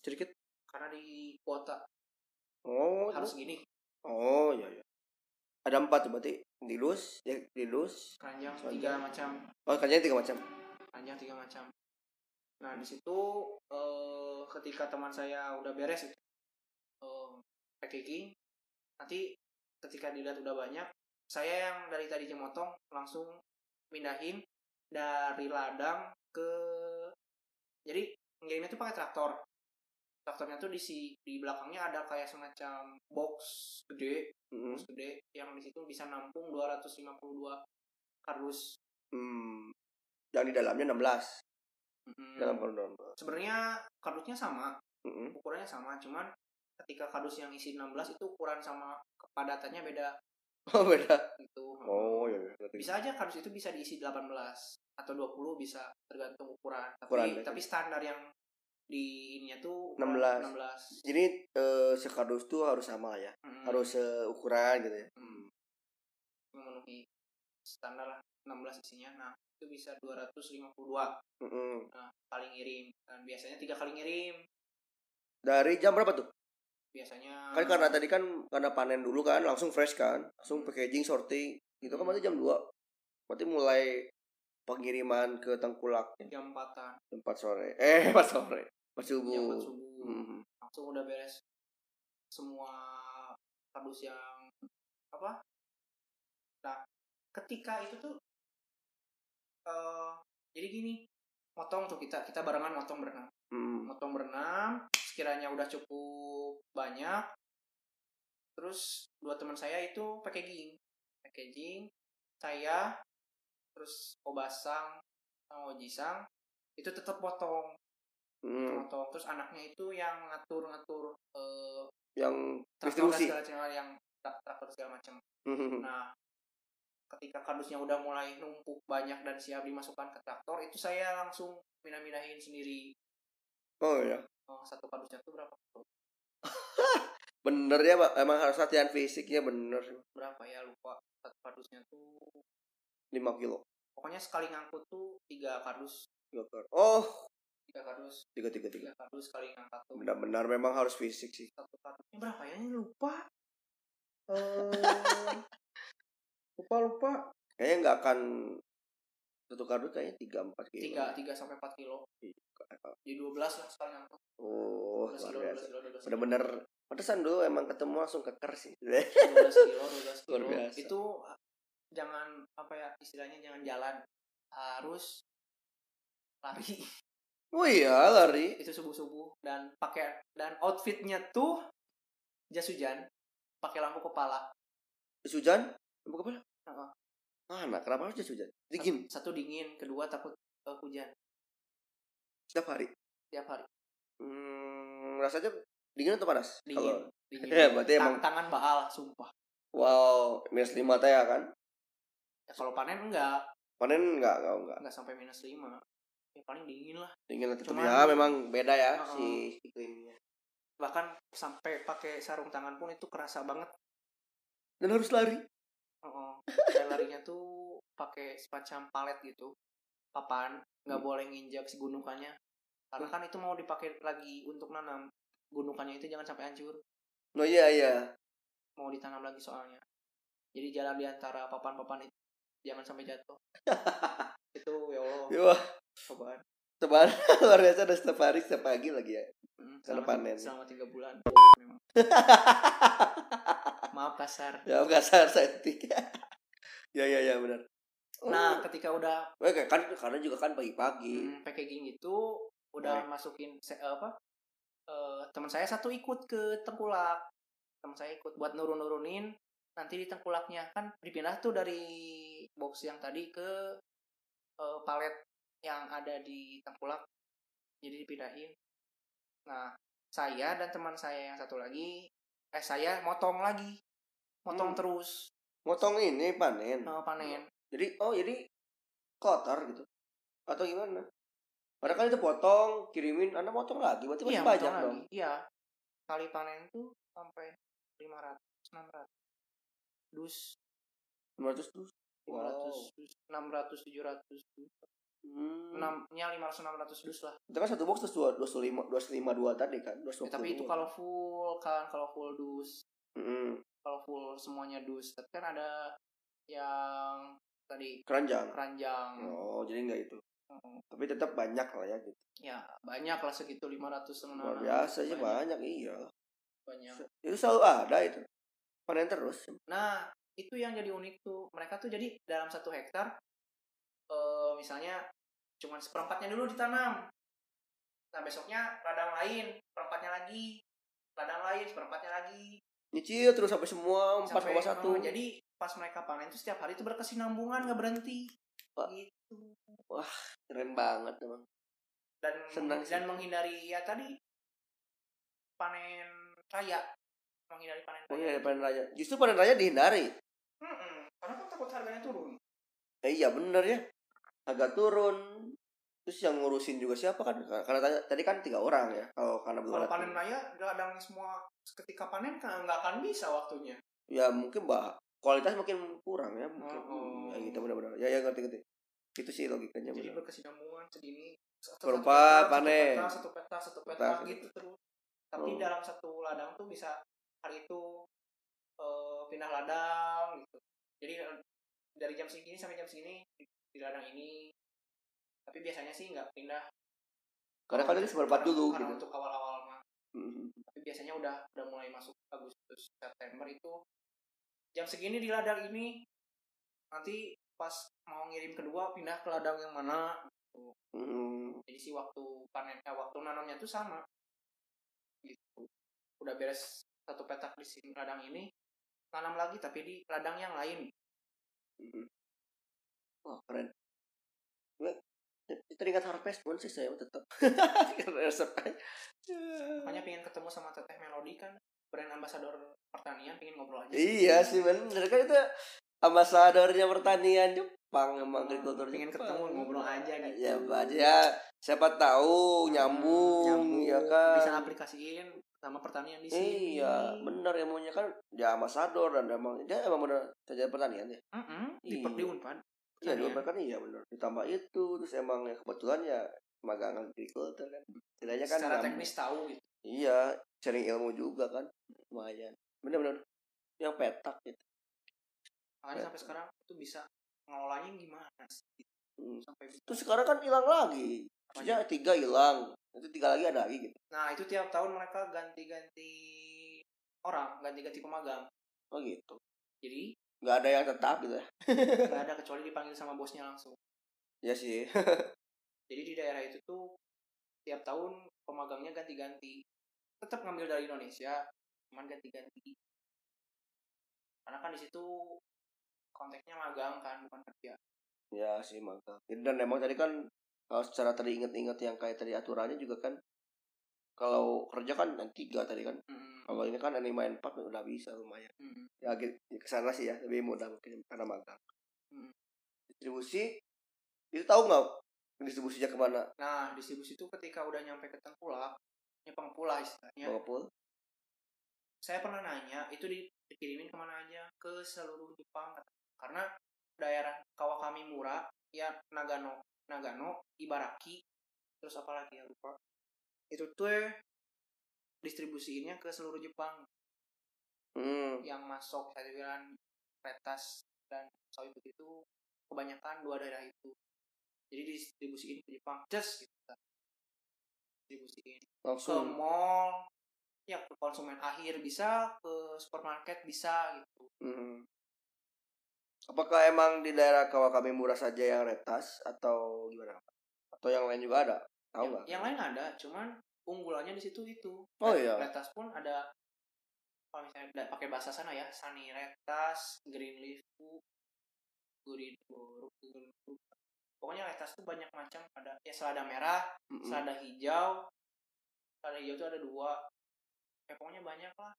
S1: sedikit
S2: karena di kuota
S1: oh
S2: harus gini
S1: oh ya ya ada empat tuh berarti dilus ya dilus
S2: keranjang
S1: Soalnya-
S2: tiga macam
S1: oh kerjanya tiga macam
S2: keranjang tiga macam nah di situ eh, ketika teman saya udah beres eh, packaging nanti ketika dilihat udah banyak saya yang dari tadi motong langsung pindahin dari ladang ke jadi ngirimnya tuh pakai traktor traktornya tuh di si di belakangnya ada kayak semacam box gede
S1: Mm-mm.
S2: kardus gede yang di situ bisa nampung 252 kardus.
S1: hmm. yang di dalamnya 16 belas
S2: Mm.
S1: dalam kardus
S2: Sebenarnya kardusnya sama,
S1: Mm-mm.
S2: ukurannya sama, cuman ketika kardus yang isi 16 itu ukuran sama kepadatannya beda
S1: [LAUGHS] oh beda
S2: gitu.
S1: oh ya ya Berarti-
S2: Bisa aja kardus itu bisa diisi 18 atau 20 bisa tergantung ukuran. Tapi
S1: Ukuran, ya.
S2: tapi standar yang di ininya tuh
S1: 16.
S2: 16. 16.
S1: jadi eh, sekardus tuh harus sama lah ya
S2: Mm.
S1: harus seukuran gitu ya
S2: Hmm. memenuhi standar lah, 16 isinya nah itu bisa 252
S1: Mm-mm.
S2: nah, kali ngirim dan biasanya tiga kali ngirim
S1: Dari jam berapa tuh?
S2: biasanya
S1: Kan karena tadi kan karena panen dulu kan langsung fresh kan, langsung packaging sorting. Gitu kan berarti jam 2. Berarti mulai pengiriman ke Tengkulak jam
S2: jam 4-an
S1: 4 sore. [LAUGHS] Eh, 4 sore. 4
S2: jam
S1: subuh. Hmm,
S2: 4 Iya, subuh
S1: Mm-mm.
S2: langsung udah beres semua kardus yang apa nah ketika itu tuh eh jadi gini motong tuh kita kita barengan motong berenang
S1: Mm-mm.
S2: motong berenam sekiranya udah cukup banyak terus dua teman saya itu packaging packaging saya terus obasang sama ojisang itu tetap potong
S1: Mm-mm.
S2: potong terus anaknya itu yang ngatur ngatur eh
S1: Yang
S2: traktor
S1: distribusi.
S2: segala macam yang trak- traktor segala macam
S1: Mm-mm.
S2: nah ketika kardusnya udah mulai numpuk banyak dan siap dimasukkan ke traktor itu saya langsung minah-minahin sendiri
S1: Oh ya.
S2: Oh, satu kardusnya itu berapa kilo?
S1: Bener ya, Pak. Emang harus latihan fisiknya bener.
S2: berapa ya lupa satu kardusnya tuh
S1: 5 kilo.
S2: pokoknya sekali ngangkut tuh tiga kardus
S1: Oh,
S2: tiga kardus
S1: 3 3 3.
S2: tiga kardus sekali ngangkat tuh
S1: Benar-benar memang harus fisik sih.
S2: satu kardusnya berapa ya ini lupa
S1: lupa lupa [LAUGHS] kayaknya nggak akan satu kardus kayaknya tiga empat kilo
S2: tiga tiga sampai empat kilo jadi dua belas lah sekali ngangkut
S1: oh
S2: dua belas
S1: luar
S2: kilo dua belas
S1: biasa
S2: kilo dua belas kilo
S1: bener-bener pantesan dulu emang ketemu langsung keker sih [LAUGHS]
S2: 12 kilo 12 kilo
S1: Luar biasa.
S2: itu uh, jangan apa ya istilahnya jangan jalan harus lari [LAUGHS]
S1: oh iya lari
S2: itu subuh subuh dan pakai dan outfitnya tuh jas hujan pakai lampu kepala
S1: Jas hujan buka kepala
S2: Heeh.
S1: mana kenapa harus jas hujan dingin
S2: satu dingin kedua takut eh, hujan
S1: setiap hari
S2: tiap hari
S1: hmm, rasanya dingin atau panas Kalau-
S2: Dingin. dingin
S1: [LAUGHS] ya berarti
S2: Tang-
S1: emang
S2: tangan baal sumpah
S1: wow minus lima teh ya kan
S2: ya, kalau panen enggak
S1: panen nggak nggak nggak
S2: enggak sampai minus lima ya paling dingin lah
S1: dingin atau
S2: Cuman-
S1: ya memang beda ya
S2: Heeh.
S1: si iklimnya
S2: bahkan sampai pakai sarung tangan pun itu kerasa banget
S1: dan harus lari [LAUGHS]
S2: Oh, dan larinya tuh pakai semacam palet gitu papan
S1: Hmm.
S2: nggak boleh nginjak si gunungannya karena kan itu mau dipakai lagi untuk nanam gunungannya itu jangan sampai hancur
S1: no iya iya
S2: mau ditanam lagi soalnya jadi jalan di antara papan-papan itu jangan sampai jatuh itu ya Allah
S1: Wah,
S2: cobaan
S1: Tebar [LAUGHS] luar biasa udah setiap hari setiap pagi lagi ya. Karena
S2: Mm, selama,
S1: panen.
S2: selama tiga bulan memang. maaf kasar
S1: ya kasar setik. [LAUGHS] ya ya ya benar.
S2: nah ketika udah
S1: Oke, kan karena juga kan pagi-pagi.
S2: Hmm, packaging itu udah masukin se- apa eh, teman saya satu ikut ke tengkulak teman saya ikut buat nurun nurunin nanti di tengkulaknya kan dipindah tuh dari box yang tadi ke eh, palet yang ada di tengkulak jadi dipindahin nah saya dan teman saya yang satu lagi eh saya motong lagi motong
S1: Hmm.
S2: terus
S1: Motong ini panen.
S2: eh, panen
S1: Jadi oh jadi kotor gitu. Atau gimana? Padahal kan itu potong, kirimin, Anda motong lagi, berarti masih
S2: iya
S1: banyak
S2: motong
S1: dong.
S2: lagi iya kali panen tuh sampai 500 600 dus
S1: 500 dus.
S2: 500 dus 600 700 dus
S1: Hmm.
S2: enam nya 500 600 dus lah
S1: Itu kan satu box terus dua- 25 252 tadi kan, 252.
S2: Ya, tapi itu kalau full kan kalau full dus
S1: Mm-mm.
S2: kalau full semuanya dus tapi kan ada yang tadi
S1: keranjang.
S2: ranjang
S1: Oh, jadi enggak itu. Tapi tetap banyak lah ya gitu.
S2: ya banyak lah segitu 500 sama
S1: Luar
S2: 600.
S1: biasa sih banyak iya.
S2: banyak
S1: Itu selalu ada itu. Panen terus.
S2: Nah, itu yang jadi unik tuh. Mereka tuh jadi dalam satu hektar, eh misalnya cuman seperempatnya dulu ditanam. Nah, besoknya ladang lain, seperempatnya lagi, ladang lain, seperempatnya lagi.
S1: Nyicil terus sampai semua
S2: Sampai-
S1: 4,1.
S2: eh, jadi pas mereka panen tuh setiap hari itu berkesinambungan, nggak berhenti.
S1: Wah.
S2: Gitu.
S1: Keren banget emang.
S2: Dan
S1: Senang sih.
S2: dan menghindari ya tadi panen raya, menghindari panen
S1: Oh
S2: raya.
S1: iya, panen raya. Justru panen raya dihindari.
S2: Mm-mm. Karena kan takut harganya turun.
S1: Eh, iya bener ya. Agak turun. Terus yang ngurusin juga siapa kan? Karena tadi, tadi kan tiga orang ya. Kalau karena belum
S2: Kalau
S1: ada
S2: panen
S1: tim.
S2: raya, ladang semua ketika panen kan nggak akan bisa waktunya.
S1: Ya mungkin bah kualitas makin kurang ya mungkin
S2: Oh.
S1: ya gitu benar-benar ya ya ngerti ngerti itu sih logikanya Iya,
S2: jadi
S1: benar
S2: berkesinambungan sedini satu-
S1: Berupa
S2: satu
S1: panen.
S2: peta, satu peta satu peta
S1: Peta.
S2: gitu terus tapi
S1: Oh.
S2: dalam satu ladang tuh bisa hari itu eh, pindah ladang gitu jadi eh, dari jam segini sampai jam segini di, di ladang ini tapi biasanya sih nggak pindah
S1: karena kan ini seberempat
S2: Karena-
S1: dulu
S2: karena
S1: gitu
S2: untuk awal-awal mah
S1: Mhm.
S2: tapi biasanya udah udah mulai masuk Agustus September itu jam segini di ladang ini nanti pas mau ngirim kedua pindah ke ladang yang mana
S1: Mhm.
S2: jadi si waktu panen eh, waktu nanamnya tuh sama gitu udah beres satu petak di sini ladang ini tanam lagi tapi di ladang yang lain
S1: Mhm. wah keren Gue ter- teringat harvest moon sih saya tetap karena resepnya
S2: makanya pengen ketemu sama teteh Melody kan brand ambassador pertanian pengen ngobrol aja
S1: iya sih bener kan itu ambasadornya pertanian Jepang emang agrikultur
S2: Ah, pengen
S1: Jepang.
S2: ketemu ngobrol aja gitu Hmm,
S1: ya Pak, ya siapa tahu nyambung, ya kan
S2: bisa aplikasiin sama pertanian di sini
S1: Iya, bener ya maunya kan ya ambasador dan emang dia emang bener kerja pertanian ya.
S2: Mm-mm, di,
S1: Iya.
S2: di Unpad
S1: Iya,
S2: Pertanian.
S1: di kan iya bener. Ditambah itu terus emang ya kebetulan ya magang agrikultur kan. Tidaknya kan
S2: secara
S1: nyam-
S2: teknis tahu gitu
S1: Iya, sharing ilmu juga kan. Lumayan. Bener-bener yang petak gitu.
S2: makanya sampai sekarang tuh bisa ngelolanya gimana sih Gitu,
S1: Hmm.
S2: sampai bisa.
S1: Terus sekarang kan hilang lagi. Maksudnya tiga hilang. Nanti tiga lagi ada lagi gitu.
S2: Nah, itu tiap tahun mereka ganti-ganti orang, ganti-ganti pemagang.
S1: Oh gitu.
S2: Jadi,
S1: Gak ada yang tetap gitu ya.
S2: nggak ada kecuali dipanggil sama bosnya langsung.
S1: Ya sih. [LAUGHS]
S2: Jadi di daerah itu tuh tiap tahun pemagangnya ganti-ganti. Tetap ngambil dari Indonesia, cuman ganti-ganti. Karena kan di situ konteksnya magang kan, bukan kerja.
S1: Ya sih maka. Dan emang tadi kan kalau secara tadi inget-inget yang kayak tadi aturannya juga kan kalau kerja kan yang tiga tadi kan
S2: Mm,
S1: kalau ini kan anime main empat udah bisa lumayan
S2: mm,
S1: ya gitu kesana sih ya lebih mudah mungkin karena magang Hmm.
S2: mm.
S1: distribusi itu tahu nggak distribusinya kemana
S2: Nah, distribusi itu ketika udah nyampe ke Tengkulak, ya pengpula istilahnya.
S1: Pengepul
S2: saya pernah nanya itu di- dikirimin kemana aja ke seluruh Jepang karena daerah Kawakamimura ya Nagano Nagano Ibaraki terus apa lagi ya lupa itu tuh eh, distribusiinnya ke seluruh Jepang
S1: hmm
S2: yang masuk sayuran retas dan sawi begitu kebanyakan dua daerah itu jadi distribusiin ke Jepang just gitu distribusiin ke
S1: langsung
S2: mall ya ke konsumen akhir bisa ke supermarket bisa gitu
S1: Hmm. apakah emang di daerah Kawakamimura saja yang retas atau gimana atau yang lain juga ada tahu
S2: yang,
S1: nggak
S2: Ya, yang lain ada cuman unggulannya di situ itu
S1: Oh, iya.
S2: retas pun ada kalau misalnya da- pakai bahasa sana ya sunny retas green leaf food, green boruk green food. pokoknya retas tuh banyak macam ada ya selada merah
S1: Mm-mm.
S2: selada hijau selada hijau tuh ada dua ya pokoknya banyak lah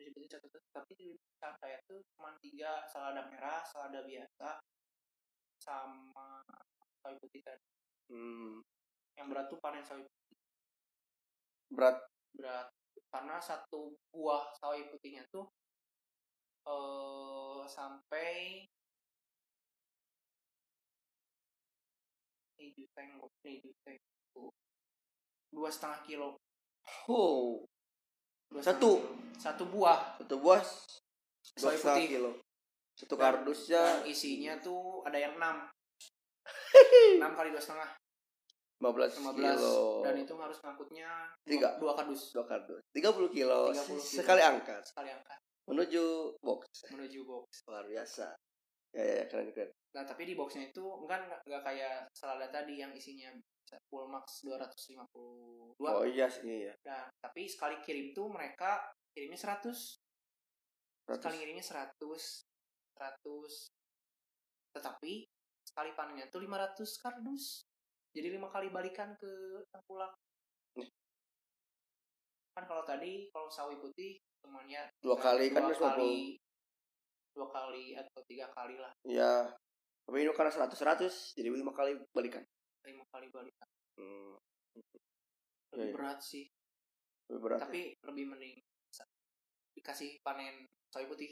S2: Terus disebutin satu satu tapi di besar saya tuh cuma tiga selada merah selada biasa sama sawi putih tadi
S1: Hmm.
S2: yang berat tuh panen sawi putih
S1: berat
S2: berat karena satu buah sawi putihnya tuh eh sampai ini juteng ini juteng dua setengah kilo
S1: oh
S2: Dua
S1: Satu.
S2: setengah kilo. satu buah
S1: satu buah dua
S2: sawi
S1: setengah
S2: putih
S1: kilo satu ya,
S2: Dan-
S1: kardusnya
S2: dan isinya tuh ada
S1: [LAUGHS]
S2: yang enam enam kali dua setengah
S1: 15
S2: lima
S1: kilo
S2: dan itu harus ngangkutnya
S1: tiga
S2: dua kardus
S1: dua kardus 30 kilo
S2: 30 kilo.
S1: sekali angkat
S2: sekali angkat
S1: menuju box
S2: menuju box
S1: luar biasa ya ya, ya keren keren
S2: Nah, tapi di boxnya itu kan nggak- nggak kayak selada tadi yang isinya full max 252.
S1: oh iya sih iya
S2: Nah, tapi sekali kirim tuh mereka kirimnya 100. Sekali
S1: 100
S2: kirimnya 100. 100. Tetapi sekali panennya tuh 500 kardus. Jadi lima kali balikan ke tengkulak. Kan kalau tadi kalau sawi putih cuman ya
S1: dua kali kan
S2: dua
S1: 250
S2: kali dua kali atau tiga kali lah
S1: ya tapi itu karena 100 100 jadi lima kali balikan
S2: lima kali balikan
S1: hmm.
S2: lebih
S1: Iya, iya.
S2: berat sih
S1: lebih berat ya.
S2: tapi lebih mending sa- dikasih panen sawi putih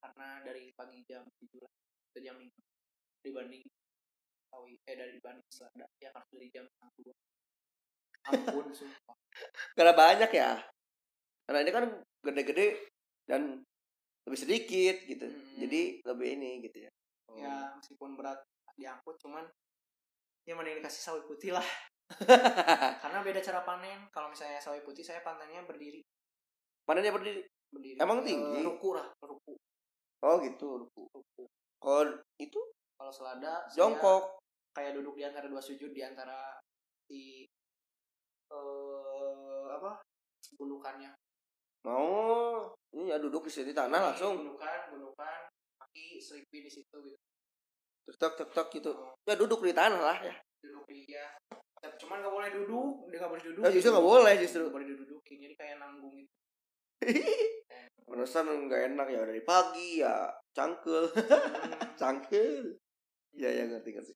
S2: karena dari pagi jam 7 lah, atau jam 5 dibanding Tawi eh dari dibanding Selada yang harus dari jam 2
S1: [LAUGHS]
S2: ampun sumpah
S1: Karena banyak ya. Karena ini kan gede-gede dan lebih sedikit gitu.
S2: Hmm.
S1: Jadi lebih ini gitu ya. Oh. [LAUGHS]
S2: ya meskipun berat diangkut cuman ya mending dikasih sawi putih lah karena beda cara panen kalau misalnya sawi putih saya panennya berdiri
S1: Panennya berdiri.
S2: berdiri
S1: Emang
S2: Eh,
S1: tinggi?
S2: ruku lah ruku
S1: Oh gitu. Kalau itu
S2: kalau selada saya
S1: jongkok.
S2: kayak duduk di antara dua sujud di antara si eh apa gundukannya
S1: Mau ini ya duduk di sini tanah langsung.
S2: gundukan gundukan kaki selipi di situ gitu
S1: Tek tek tek, tek gitu. Ya duduk di tanah lah ya. [LAUGHS]
S2: duduk di ya cuman gak boleh duduk dia gak boleh duduk
S1: Ya, justru nggak boleh, justru.
S2: Nggak boleh didudukin jadi kayak nanggung
S1: [LAUGHS]
S2: gitu
S1: Penasaran nggak enak ya dari pagi ya cangkel
S2: Hmm.
S1: cangkel. Ya ya ngerti ngerti.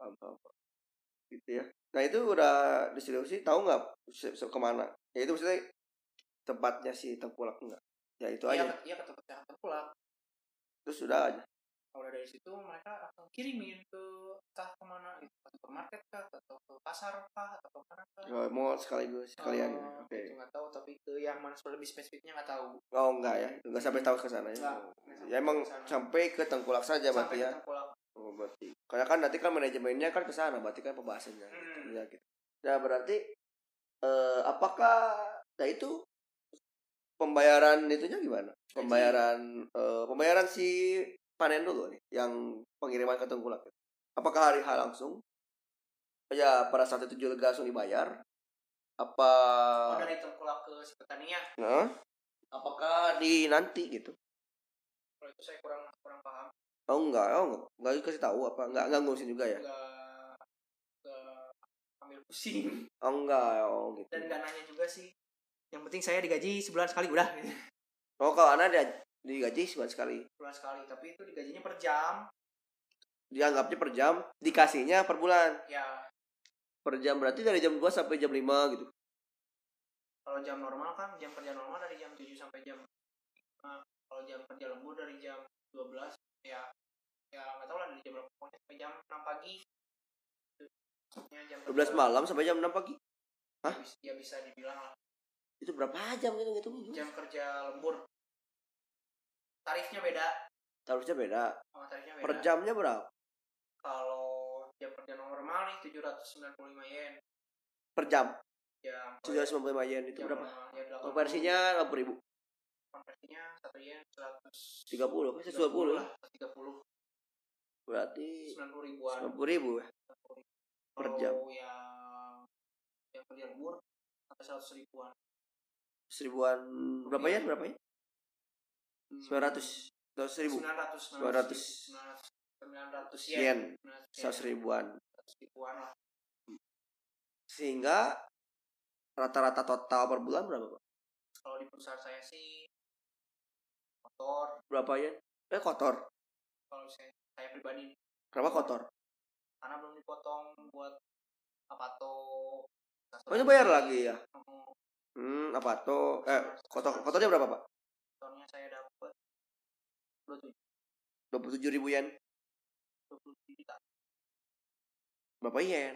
S1: Paham, paham, paham. Gitu ya. Nah itu udah distribusi tahu nggak se- se- kemana? Ya itu maksudnya tempatnya si tengkulak enggak? Ya itu
S2: Iya,
S1: aja.
S2: ke- iya ke tempat yang terpulak.
S1: Terus udah aja.
S2: Kalau udah dari situ mereka akan kirimin ke entah kemana gitu, ke supermarket kah, atau ke pasar kah, atau kemana kah.
S1: Oh, Mau sekaligus sekalian. gitu.
S2: Eh,
S1: Oke.
S2: itu nggak tahu tapi ke yang mana lebih spesifiknya nggak tahu.
S1: Oh enggak ya, enggak sampai tahu ke sana ya.
S2: Nggak,
S1: Ya emang
S2: sampai
S1: sampai ke tengkulak saja
S2: sampai
S1: berarti ya.
S2: ke Tengkulak.
S1: Oh, berarti. Karena kan nanti kan manajemennya kan ke sana, berarti kan pembahasannya.
S2: Hmm.
S1: Ya gitu. Nah, berarti eh, apakah nah itu pembayaran itunya gimana? Pembayaran eh, pembayaran si panen dulu nih yang pengiriman ke tengkulak. Apakah hari H langsung? Ya, pada saat itu juga langsung dibayar? Apa Ah.
S2: Oh, dari Tengkulak ke si ya. Petania.
S1: Nah, apakah di nanti gitu?
S2: Kalau itu saya kurang kurang paham.
S1: Oh enggak, oh enggak, enggak dikasih tahu apa enggak enggak ngurusin juga ya?
S2: Nggak nggak ambil
S1: [LAUGHS]
S2: pusing
S1: Oh enggak, oh gitu.
S2: dan nggak nanya juga sih. Yang penting saya digaji sebulan sekali udah. gitu.
S1: Oh kalau anak dia digaji sebulan sekali,
S2: Sebulan sekali tapi itu digajinya per jam.
S1: dianggapnya per jam, dikasihnya per bulan.
S2: Ya
S1: Per jam berarti dari jam 2 sampai jam 5 gitu.
S2: kalau jam normal kan jam kerja normal dari jam 7 sampai jam 5. kalau jam kerja lembur dari jam 12 ya ya nggak tahu lah dari jam berapa pokoknya sampai jam 6 pagi Itu maksudnya jam
S1: 12 malam sampai jam 6 pagi.
S2: ya bisa, ya bisa dibilang lah
S1: Itu berapa jam gitu gitu?
S2: jam kerja lembur tarifnya beda
S1: Harusnya beda.
S2: sama tarifnya beda
S1: Per jamnya berapa?
S2: kalau jam kerja normal nih 795 yen
S1: Per jam.
S2: jam
S1: 795 yen itu
S2: jam
S1: berapa?
S2: normal, ya, 8.
S1: Konversinya 60.000.
S2: konversinya satu yen 100
S1: 30, kan 120
S2: lah 130
S1: Berarti
S2: 90 ribuan
S1: 90.000 ya. Per
S2: Kalau
S1: jam.
S2: yang yang kerja lembur sampai seratus ribuan
S1: Seribuan berapa ya? Berapa ya? 900. 900.000
S2: Hmm. sembilan ratus
S1: 900.
S2: sembilan ratus yen
S1: yen, 100
S2: seratus
S1: ribuan.
S2: ribuan lah
S1: sehingga rata-rata total per bulan berapa Pak?
S2: kalau di perusahaan saya sih motor
S1: berapa ya eh kotor
S2: kalau saya saya pribadi
S1: kenapa kotor
S2: karena belum dipotong buat apa tuh
S1: oh itu bayar lagi ya
S2: Oh,
S1: hmm apa tuh eh kotor kotornya berapa pak
S2: motornya saya dapat dua tujuh
S1: dua puluh tujuh ribu yen
S2: dua puluh juta
S1: berapa yen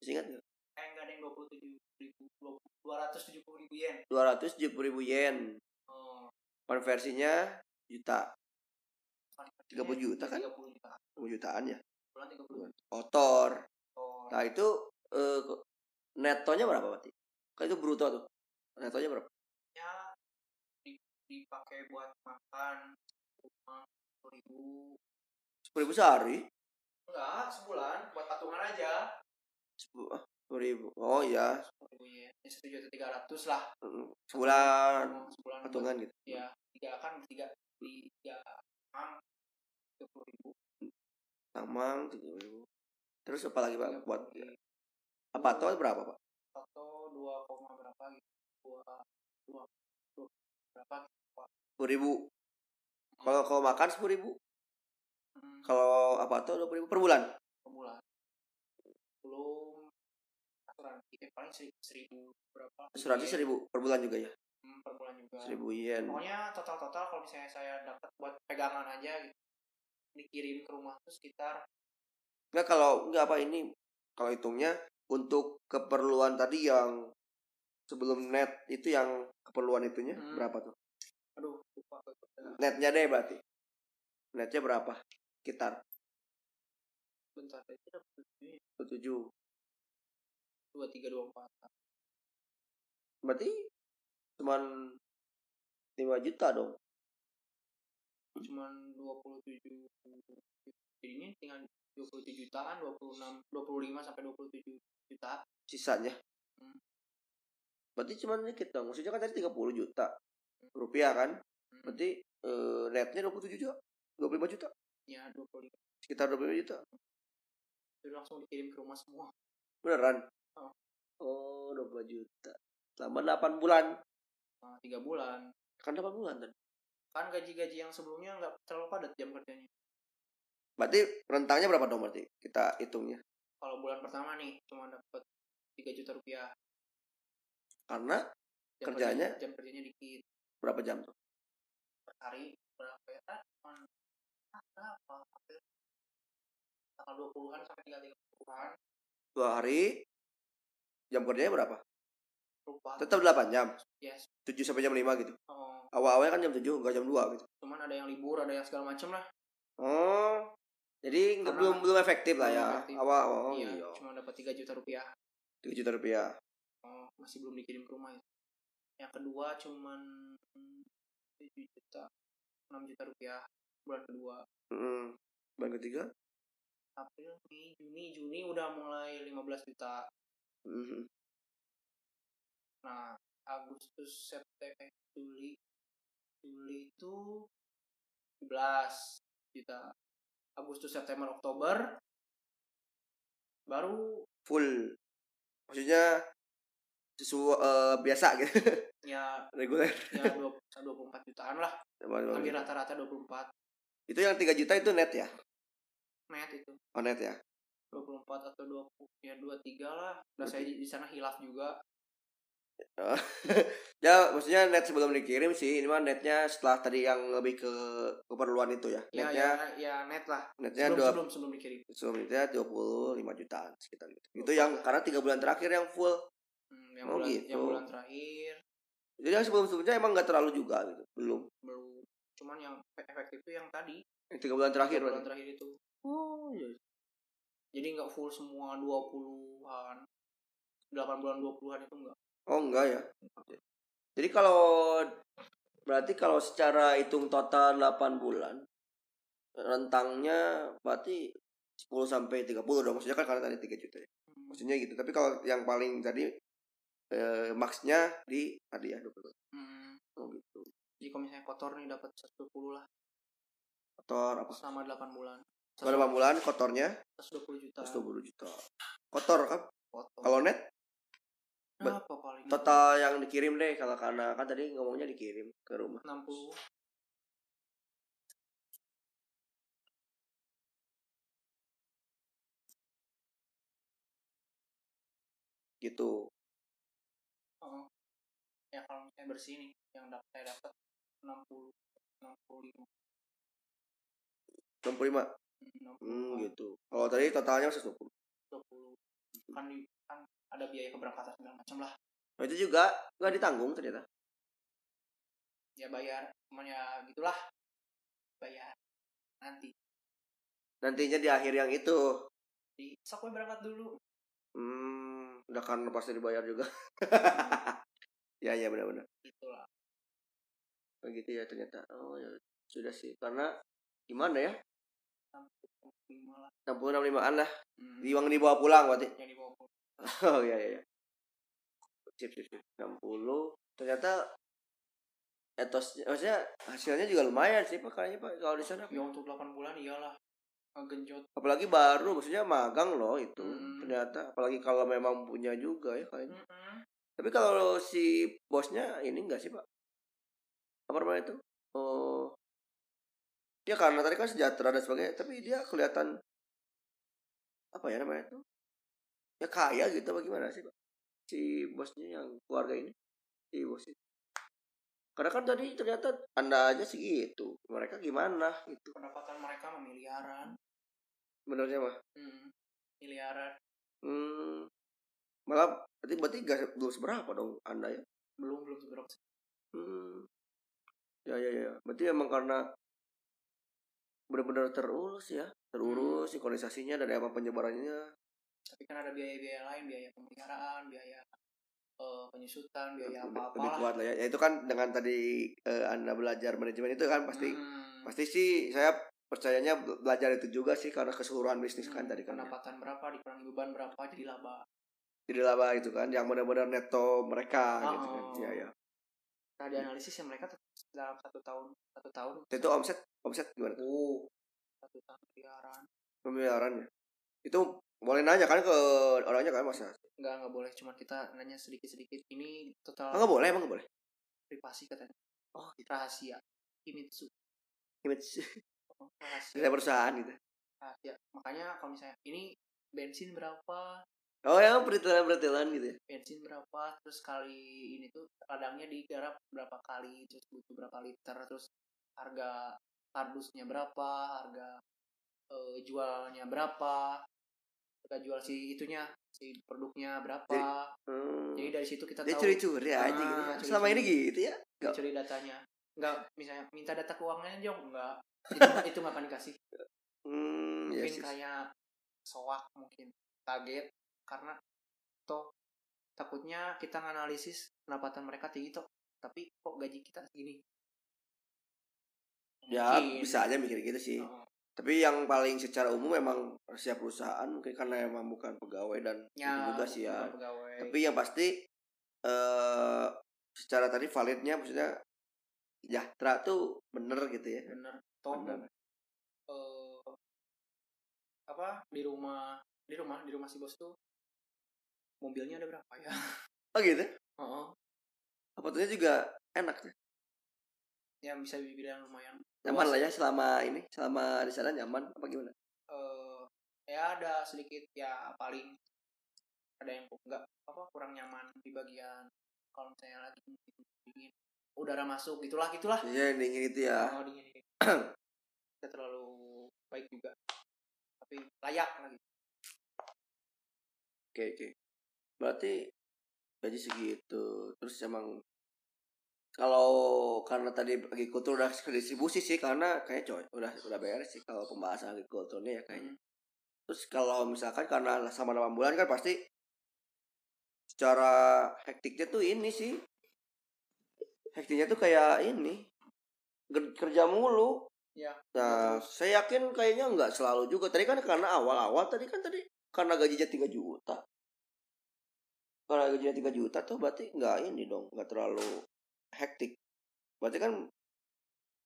S1: Masih ingat nggak
S2: eh enggak ada yang dua puluh tujuh ribu dua ratus tujuh puluh ribu yen
S1: dua ratus tujuh puluh ribu yen
S2: Oh,
S1: konversinya juta 30 juta kan?
S2: 30 juta.
S1: Puluh jutaan ya
S2: Bulan 30 juta.
S1: kotor
S2: Oh,
S1: nah itu eh, ko- netonya berapa berarti kan itu bruto tuh netonya berapa
S2: ya di- dipakai buat makan rumah 10 ribu.
S1: sepuluh ribu sehari
S2: Enggak, sebulan buat patungan aja.
S1: sepuluh ribu oh iya
S2: 10 ribu ya. Ya 1 juta 300 lah.
S1: Mm, sebulan
S2: Oh, sebulan buat-
S1: patungan gitu
S2: Ya, tiga kan tiga di tiga orang 30 ribu.
S1: Tamang tujuh ribu. Terus apa lagi pak buat ya.
S2: Bagi
S1: apa tuh berapa pak?
S2: Foto 2, koma berapa gitu. 2 2 2 berapa gitu.
S1: Sepuluh ribu. Kalau kau makan sepuluh ribu.
S2: Hmm,
S1: Kalau apa tuh dua ribu per bulan.
S2: per bulan. Belum asuransi eh paling seri- seribu berapa? Iya,
S1: Seratus ribu per bulan juga ya.
S2: Hmm, per bulan juga.
S1: seribu yen
S2: Pokoknya total-total kalau misalnya saya dapat buat pegangan aja gitu. Dikirim ke rumah tuh sekitar
S1: nggak kalau nggak apa ini kalau hitungnya untuk keperluan tadi yang sebelum net itu yang keperluan itunya
S2: Hmm.
S1: berapa tuh
S2: aduh lupa gue.
S1: netnya deh berarti netnya berapa sekitar
S2: bentar aja dapat duit.
S1: 27
S2: dua tiga dua empat
S1: berarti cuman 5 juta dong Hmm.
S2: cuman dua puluh tujuh jadinya tinggal dua puluh tujuh jutaan dua puluh enam dua puluh lima sampai dua puluh tujuh juta
S1: sisanya
S2: Hmm.
S1: berarti cuman dikit dong maksudnya kan tadi 30 juta rupiah kan
S2: Hmm.
S1: berarti eh, netnya 27 juta 25 juta
S2: ya dua puluh lima
S1: sekitar 25 juta
S2: Terus langsung dikirim ke rumah semua
S1: beneran oh
S2: Oh.
S1: 25 juta selama 8 bulan
S2: Nah, tiga bulan
S1: kan 8 bulan tadi
S2: kan gaji-gaji yang sebelumnya nggak terlalu padat jam kerjanya
S1: berarti rentangnya berapa dong berarti kita hitungnya
S2: kalau bulan pertama nih cuma dapat tiga juta rupiah
S1: karena
S2: jam
S1: Kerjanya?
S2: kerja- jam kerjanya dikit
S1: berapa jam tuh
S2: per hari berapa ya Ah, cuma ah, berapa hampir tanggal dua puluhan sampai tiga tiga puluhan
S1: dua hari jam kerjanya berapa
S2: lupa
S1: tetap 8 jam
S2: yes
S1: 7 sampai jam 5 gitu
S2: oh,
S1: awal-awalnya kan jam 7 enggak jam 2 gitu
S2: cuman ada yang libur ada yang segala macem lah
S1: oh jadi nggak-
S2: Karena-
S1: belum belum efektif lah ya
S2: Belum efektif.
S1: awal oh
S2: iya,
S1: iya
S2: cuma dapat 3 juta rupiah
S1: 3 juta rupiah
S2: oh, masih belum dikirim ke rumah ya. yang kedua cuman 7 juta 6 juta rupiah bulan kedua
S1: Mm. Bulan ketiga?
S2: April Mei Juni Juni udah mulai 15 juta
S1: Mm.
S2: nah Agustus September Juli Juli itu 17 juta Agustus September Oktober baru
S1: Full. Maksudnya sesuai biasa gitu, [LAUGHS]
S2: ya
S1: reguler.
S2: ya 20 24 jutaan lah hampir rata-rata 24
S1: Itu yang 3 juta itu net ya?
S2: net itu
S1: Oh net ya.
S2: 24 atau 20 ya 23 lah. Udah saya di di sana hilaf juga.
S1: Ya maksudnya net sebelum dikirim sih, ini mah netnya setelah tadi yang lebih ke keperluan itu ya.
S2: Ya
S1: Netnya
S2: ya ya net lah.
S1: netnya
S2: Sebelum
S1: dua
S2: sebelum sebelum dikirim.
S1: sebelum itu ya 25 jutaan sekitar gitu. Itu yang karena 3 bulan terakhir yang full.
S2: Hmm, yang
S1: Oh,
S2: bulan
S1: gitu.
S2: yang bulan terakhir
S1: Jadi yang sebelum-sebelumnya emang nggak terlalu juga gitu. Belum.
S2: belum cuman yang pe- efektif itu yang tadi
S1: Yang 3 bulan terakhir.
S2: bulan
S1: berarti.
S2: terakhir itu.
S1: Oh, iya.
S2: Jadi nggak full semua 20-an. 8 bulan 20-an itu enggak.
S1: Oh enggak ya. Jadi kalau berarti kalau secara hitung total 8 bulan rentangnya berarti 10 sampai 30 dong. Maksudnya kan karena tadi 3 juta ya.
S2: Hmm.
S1: Maksudnya gitu. Tapi kalau yang paling tadi eh, maxnya di tadi ya 20.
S2: Hmm.
S1: Oh gitu.
S2: Jadi kalau misalnya kotor nih dapat 120 lah
S1: Kotor apa?
S2: selama 8 bulan.
S1: Kalau 8 bulan kotornya
S2: 120 juta
S1: 120 juta. Kotor kan?
S2: kotor.
S1: Kalau net
S2: Nah, apa paling
S1: total yang dikirim deh kalau karena kan tadi ngomongnya dikirim ke rumah.
S2: 60
S1: Gitu.
S2: Heeh. ya kalau misalnya bersih nih yang dapat saya dapat 60
S1: 65.
S2: 65 60
S1: Hmm, gitu. Kalau tadi totalnya 120.
S2: 20 kan di- kan ada biaya keberangkatan segala macam lah
S1: Nah, itu juga nggak ditanggung ternyata.
S2: ya bayar cuman ya gitulah bayar nanti
S1: Nantinya di akhir yang itu,
S2: di sok gue berangkat dulu
S1: hmm, udah kan pasti dibayar juga. [LAUGHS] ya ya benar-benar.
S2: gitulah
S1: Begitu ya ternyata. Oh ya sudah sih karena gimana ya?
S2: 65 lah
S1: 60 65-an lah.
S2: Hmm.
S1: Uang dibawa pulang berarti. [LAUGHS]
S2: yang dibawa pulang.
S1: Oh iya iya. iya. Sip sip sip. 60 ternyata etos maksudnya hasilnya juga lumayan sih Pak kayaknya Pak kalau di sana.
S2: ya untuk 8 bulan iyalah Oh, genjot
S1: Apalagi baru maksudnya magang loh itu.
S2: Hmm.
S1: Ternyata apalagi kalau memang punya juga ya kayaknya. Tapi kalau si bosnya ini enggak sih, Pak? Apa namanya itu? Oh. Ya karena tadi kan sejahtera dan sebagainya, tapi dia kelihatan apa ya namanya itu? Ya kaya gitu bagaimana sih, Pak? Si bosnya yang keluarga ini. Si bos itu. Karena kan tadi ternyata anda aja segitu, mereka gimana gitu.
S2: pendapatan mereka mah miliaran
S1: Benernya mah.
S2: hmm, miliaran
S1: Hmm, malah berarti berarti gak belum seberapa dong anda ya.
S2: belum belum seberapa sih.
S1: Hmm. Ya ya ya. Berarti emang karena benar-benar terurus ya, terurus
S2: Hmm.
S1: sinkronisasinya dan emang penyebarannya.
S2: tapi kan ada biaya-biaya lain biaya pemeliharaan biaya eh, penyusutan biaya
S1: lebih,
S2: apa apa
S1: lebih
S2: lah
S1: kuat lah ya. Ya itu kan dengan tadi eh, anda belajar manajemen itu kan pasti
S2: Hmm.
S1: pasti sih saya percayanya be- belajar itu juga sih karena keseluruhan bisnis kan
S2: Hmm,
S1: tadi kan. ya.
S2: pendapatan berapa dikurangi beban berapa jadi laba
S1: Jadi laba itu kan yang benar-benar neto mereka
S2: Oh.
S1: gitu kan. Iya ya.
S2: nah dianalisis ya mereka tetap dalam satu tahun satu tahun
S1: Itu omset omset gimana?
S2: oh satu tahun miliaran
S1: Pemeliharaan ya. Itu boleh nanya kan ke orangnya kan masa?
S2: nggak nggak boleh cuma kita nanya sedikit sedikit ini
S1: Ah,
S2: total
S1: nggak boleh gitu. emang nggak boleh.
S2: privasi katanya oh rahasia Himitsu
S1: Image [LAUGHS]
S2: Oh, rahasia
S1: dari perusahaan gitu.
S2: rahasia makanya kalau misalnya ini bensin berapa
S1: Oh ya, peritilan-peritilan gitu ya.
S2: bensin berapa terus kali ini tuh ladangnya digarap berapa kali terus butuh berapa liter terus harga kardusnya berapa harga eh, jualnya berapa harga jual si itunya si produknya berapa
S1: Hmm.
S2: jadi, dari situ kita
S1: Dia
S2: tahu
S1: curi-curi aja
S2: Ah,
S1: gitu. ya.
S2: curi-curi.
S1: Selama ini gitu ya. Nggak.
S2: curi datanya nggak misalnya minta data keuangannya jong
S1: [LAUGHS]
S2: nggak itu, itu nggak akan dikasih
S1: Hmm,
S2: mungkin
S1: ya sih.
S2: kayak soak mungkin target karena toh takutnya kita nganalisis pendapatan mereka tinggi toh tapi kok gaji kita segini
S1: Ya,
S2: Mungkin.
S1: bisa aja mikir gitu sih.
S2: Oh,
S1: Tapi yang paling secara umum memang siap perusahaan mungkin karena emang bukan pegawai dan
S2: ya,
S1: itu juga sih ya.
S2: bukan pegawai.
S1: Tapi yang pasti eh secara tadi validnya maksudnya Jahtra tuh bener gitu ya.
S2: bener toh
S1: Bener.
S2: eh, apa di rumah di rumah di rumah si bos tuh mobilnya ada berapa ya [LAUGHS]
S1: Oh gitu.
S2: oh
S1: Apatnya juga enak ya.
S2: yang Ya, bisa dibilang lumayan
S1: Nyaman
S2: luas.
S1: lah ya selama ini, selama di sana nyaman apa gimana?
S2: eh ya ada sedikit ya paling ada yang enggak apa kurang nyaman di bagian kalau misalnya lagi dingin, dingin udara masuk gitulah gitulah
S1: Iya, yang dingin itu ya.
S2: kalau dingin dingin tidak terlalu baik juga tapi layak gitu. lagi
S1: Oke oke. Berarti gaji segitu. Terus emang kalau karena tadi agrikultur udah [LAUGHS] ke distribusi sih karena kayak coy udah udah beres sih kalau pembahasan agrikulturnya ya kayaknya.
S2: Hmm.
S1: Terus kalau misalkan karena sama 8 bulan kan pasti secara hektiknya tuh ini sih. Hektiknya tuh kayak ini ger- kerja mulu.
S2: ya
S1: Nah,
S2: terus.
S1: saya yakin kayaknya nggak selalu juga. Tadi kan karena awal-awal tadi kan tadi karena gajinya 3 juta. Karena gajinya 3 juta tuh berarti nggak ini dong, nggak terlalu hektik. Berarti kan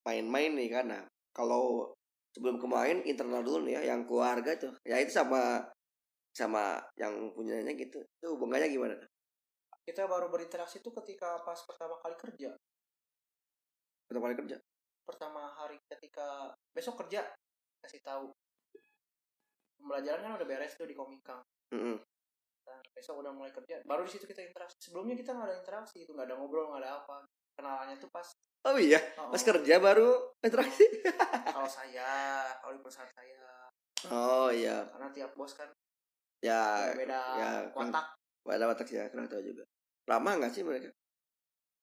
S1: main-main nih karena kalau sebelum kemarin internal dulu nih ya yang keluarga tuh. Ya itu sama sama yang punyanya gitu. Itu hubungannya gimana? tuh?
S2: kita baru berinteraksi tuh ketika pas pertama kali kerja
S1: Pertama kali kerja.
S2: pertama hari ketika besok kerja kasih tahu pembelajaran kan udah beres tuh di komikang
S1: Mm-mm.
S2: Nah, besok udah mulai kerja baru di situ kita interaksi sebelumnya kita nggak ada interaksi itu nggak ada ngobrol nggak ada apa kenalannya tuh pas
S1: Oh iya,
S2: oh,
S1: pas kerja baru eh, interaksi.
S2: kalau saya kalau di perusahaan saya
S1: Oh iya,
S2: karena tiap bos kan
S1: ya
S2: beda
S1: ya,
S2: kotak
S1: Ada watak ya, kurang tahu juga. Lama nggak sih mereka?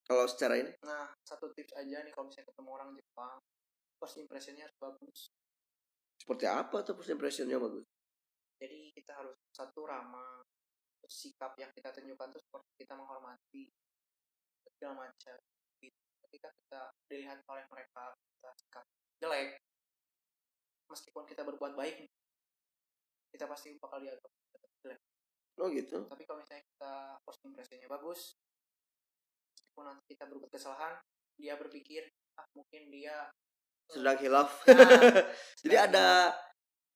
S1: Kalau secara ini?
S2: nah satu tips aja nih kalau misalnya ketemu orang Jepang first impressionnya harus bagus
S1: Seperti apa tuh first impressionnya bagus?
S2: jadi kita harus satu ramah terus sikap yang kita tunjukkan tuh seperti kita menghormati segala macam Gitu. ketika kita dilihat oleh mereka kita sikap jelek meskipun kita berbuat baik kita pasti bakal dianggap jelek
S1: Oh gitu.
S2: tapi kalau misalnya kita first impressionnya bagus meskipun nanti kita berbuat kesalahan dia berpikir ah mungkin dia
S1: Sedang hilaf.
S2: Nah,
S1: [LAUGHS] Jadi
S2: sedang-
S1: ada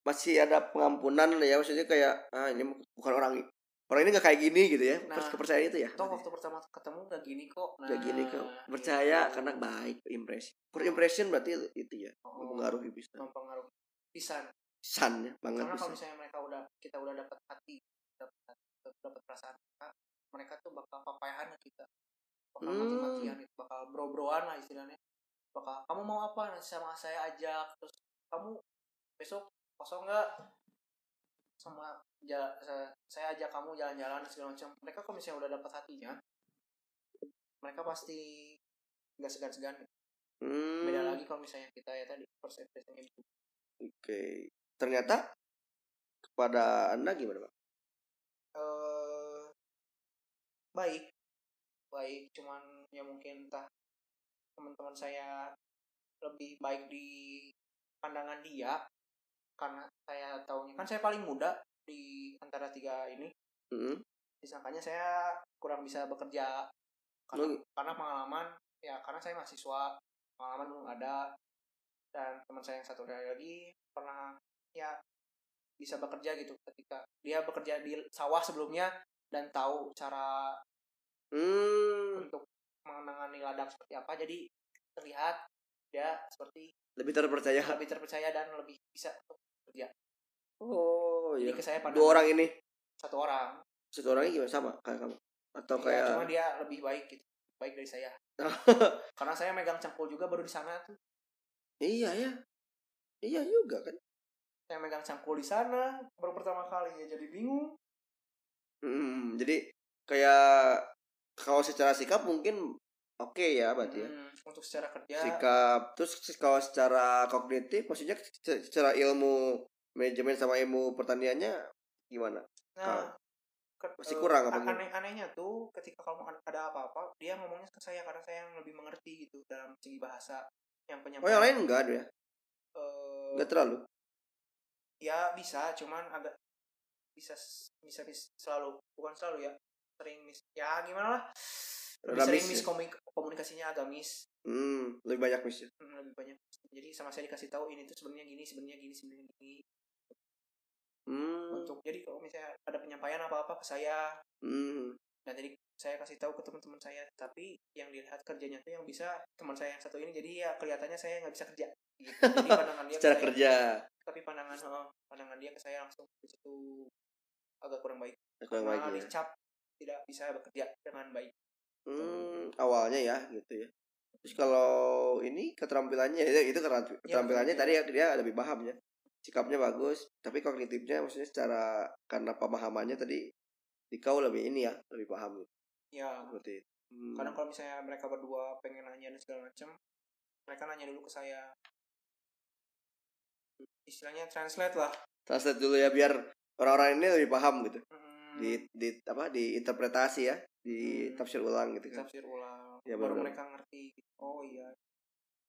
S1: masih ada pengampunan ya maksudnya kayak ah ini bukan orang orang ini nggak kayak gini gitu ya.
S2: Nah,
S1: Pers- kepercayaan itu ya.
S2: toh waktu pertama ketemu gak gini kok nah,
S1: Kayak gini kok. Percaya
S2: gitu.
S1: karena baik impresi. Per impression berarti itu, itu ya.
S2: Oh.
S1: Mempengaruhi bisa.
S2: mempengaruhi pisan
S1: San ya, banget
S2: karena
S1: bisa.
S2: kalau misalnya mereka udah kita udah dapat hati dapat dapat perasaan mereka mereka tuh bakal papayahan ke kita bakal
S1: Hmm.
S2: maki-makian gitu, bakal bro-broan lah istilahnya bakal kamu mau apa nanti sama saya ajak terus kamu besok kosong nggak sama ja- sa- saya ajak kamu jalan-jalan dan segala macam mereka kalau misalnya udah dapat hatinya mereka pasti nggak segan-segan
S1: Hmm,
S2: beda lagi kalau misalnya kita ya tadi first impression itu
S1: Oke. Ternyata kepada Anda gimana, Pak?
S2: eh baik baik cuman ya mungkin entah teman-teman saya lebih baik di pandangan dia karena saya tahunya kan saya paling muda di antara tiga ini
S1: Hmm.
S2: disangkanya saya kurang bisa bekerja karena,
S1: Lu-
S2: karena pengalaman ya karena saya mahasiswa pengalaman belum ada dan teman saya yang satu lagi pernah ya bisa bekerja gitu ketika dia bekerja di sawah sebelumnya dan tahu cara
S1: Hmm,
S2: untuk menangani ladang seperti apa jadi terlihat dia seperti
S1: lebih terpercaya.
S2: lebih terpercaya dan lebih bisa untuk bekerja
S1: Oh,
S2: jadi
S1: iya.
S2: ke saya
S1: Dua
S2: pandangan
S1: orang ini,
S2: satu orang
S1: satu orangnya gimana sama kayak kamu? Atau
S2: Iya,
S1: kayak
S2: cuma dia lebih baik gitu baik dari
S1: [LAUGHS]
S2: saya karena saya megang cangkul juga baru di sana tuh
S1: Iya ya. Iya juga kan.
S2: saya megang cangkul di sana baru pertama kali ya jadi bingung
S1: Hmm, jadi kayak kalau secara sikap mungkin oke ya berarti ya.
S2: Hmm, untuk secara kerja
S1: Sikap terus kalau secara kognitif maksudnya se- secara ilmu manajemen sama ilmu pertaniannya gimana?
S2: nah ke-
S1: Masih
S2: eh,
S1: kurang apa
S2: a-
S1: gimana?
S2: aneh-anehnya tuh ketika kamu ad- ada apa-apa dia ngomongnya ke saya karena saya yang lebih mengerti gitu dalam segi bahasa yang penyampaian
S1: Oh yang lain enggak ada ya?
S2: eh,
S1: Enggak terlalu.
S2: ya bisa cuman agak bisa bisa mis- selalu bukan selalu ya sering mis ya gimana lah lebih
S1: Rada
S2: sering
S1: miss ya?
S2: mis komunik- komunikasinya agak miss
S1: Hmm, lebih banyak miss ya.
S2: Hmm, lebih banyak jadi sama saya dikasih tahu ini tuh sebenarnya gini sebenarnya gini sebenarnya gini
S1: Hmm.
S2: untuk jadi kalau misalnya ada penyampaian apa apa ke saya
S1: Hmm.
S2: dan jadi saya kasih tahu ke teman-teman saya tapi yang dilihat kerjanya tuh yang bisa teman saya yang satu ini jadi ya kelihatannya saya nggak bisa kerja gitu.
S1: [LAUGHS]
S2: jadi pandangan dia ke
S1: Secara
S2: saya-
S1: kerja
S2: tapi pandangan eh, pandangan dia ke saya langsung di situ agak kurang baik
S1: kurang baik
S2: karena
S1: ya.
S2: dicap tidak bisa bekerja dengan baik Gitu.
S1: Hmm, awalnya ya gitu ya. Terus kalau ini keterampilannya ya, itu, itu keteramp- keterampilannya tadi ya dia lebih paham ya. Sikapnya bagus, tapi kognitifnya maksudnya secara karena pemahamannya tadi di kau lebih ini ya, lebih paham gitu.
S2: ya
S1: seperti itu. Hmm.
S2: kadang kalau misalnya mereka berdua pengen nanya dan segala macam mereka nanya dulu ke saya istilahnya translate lah
S1: translate dulu ya biar orang-orang ini lebih paham gitu.
S2: Hmm,
S1: Di di apa diinterpretasi ya, di
S2: Hmm.
S1: tafsir ulang gitu kan.
S2: tafsir ulang
S1: Ya,
S2: baru
S1: benar-benar.
S2: mereka ngerti oh iya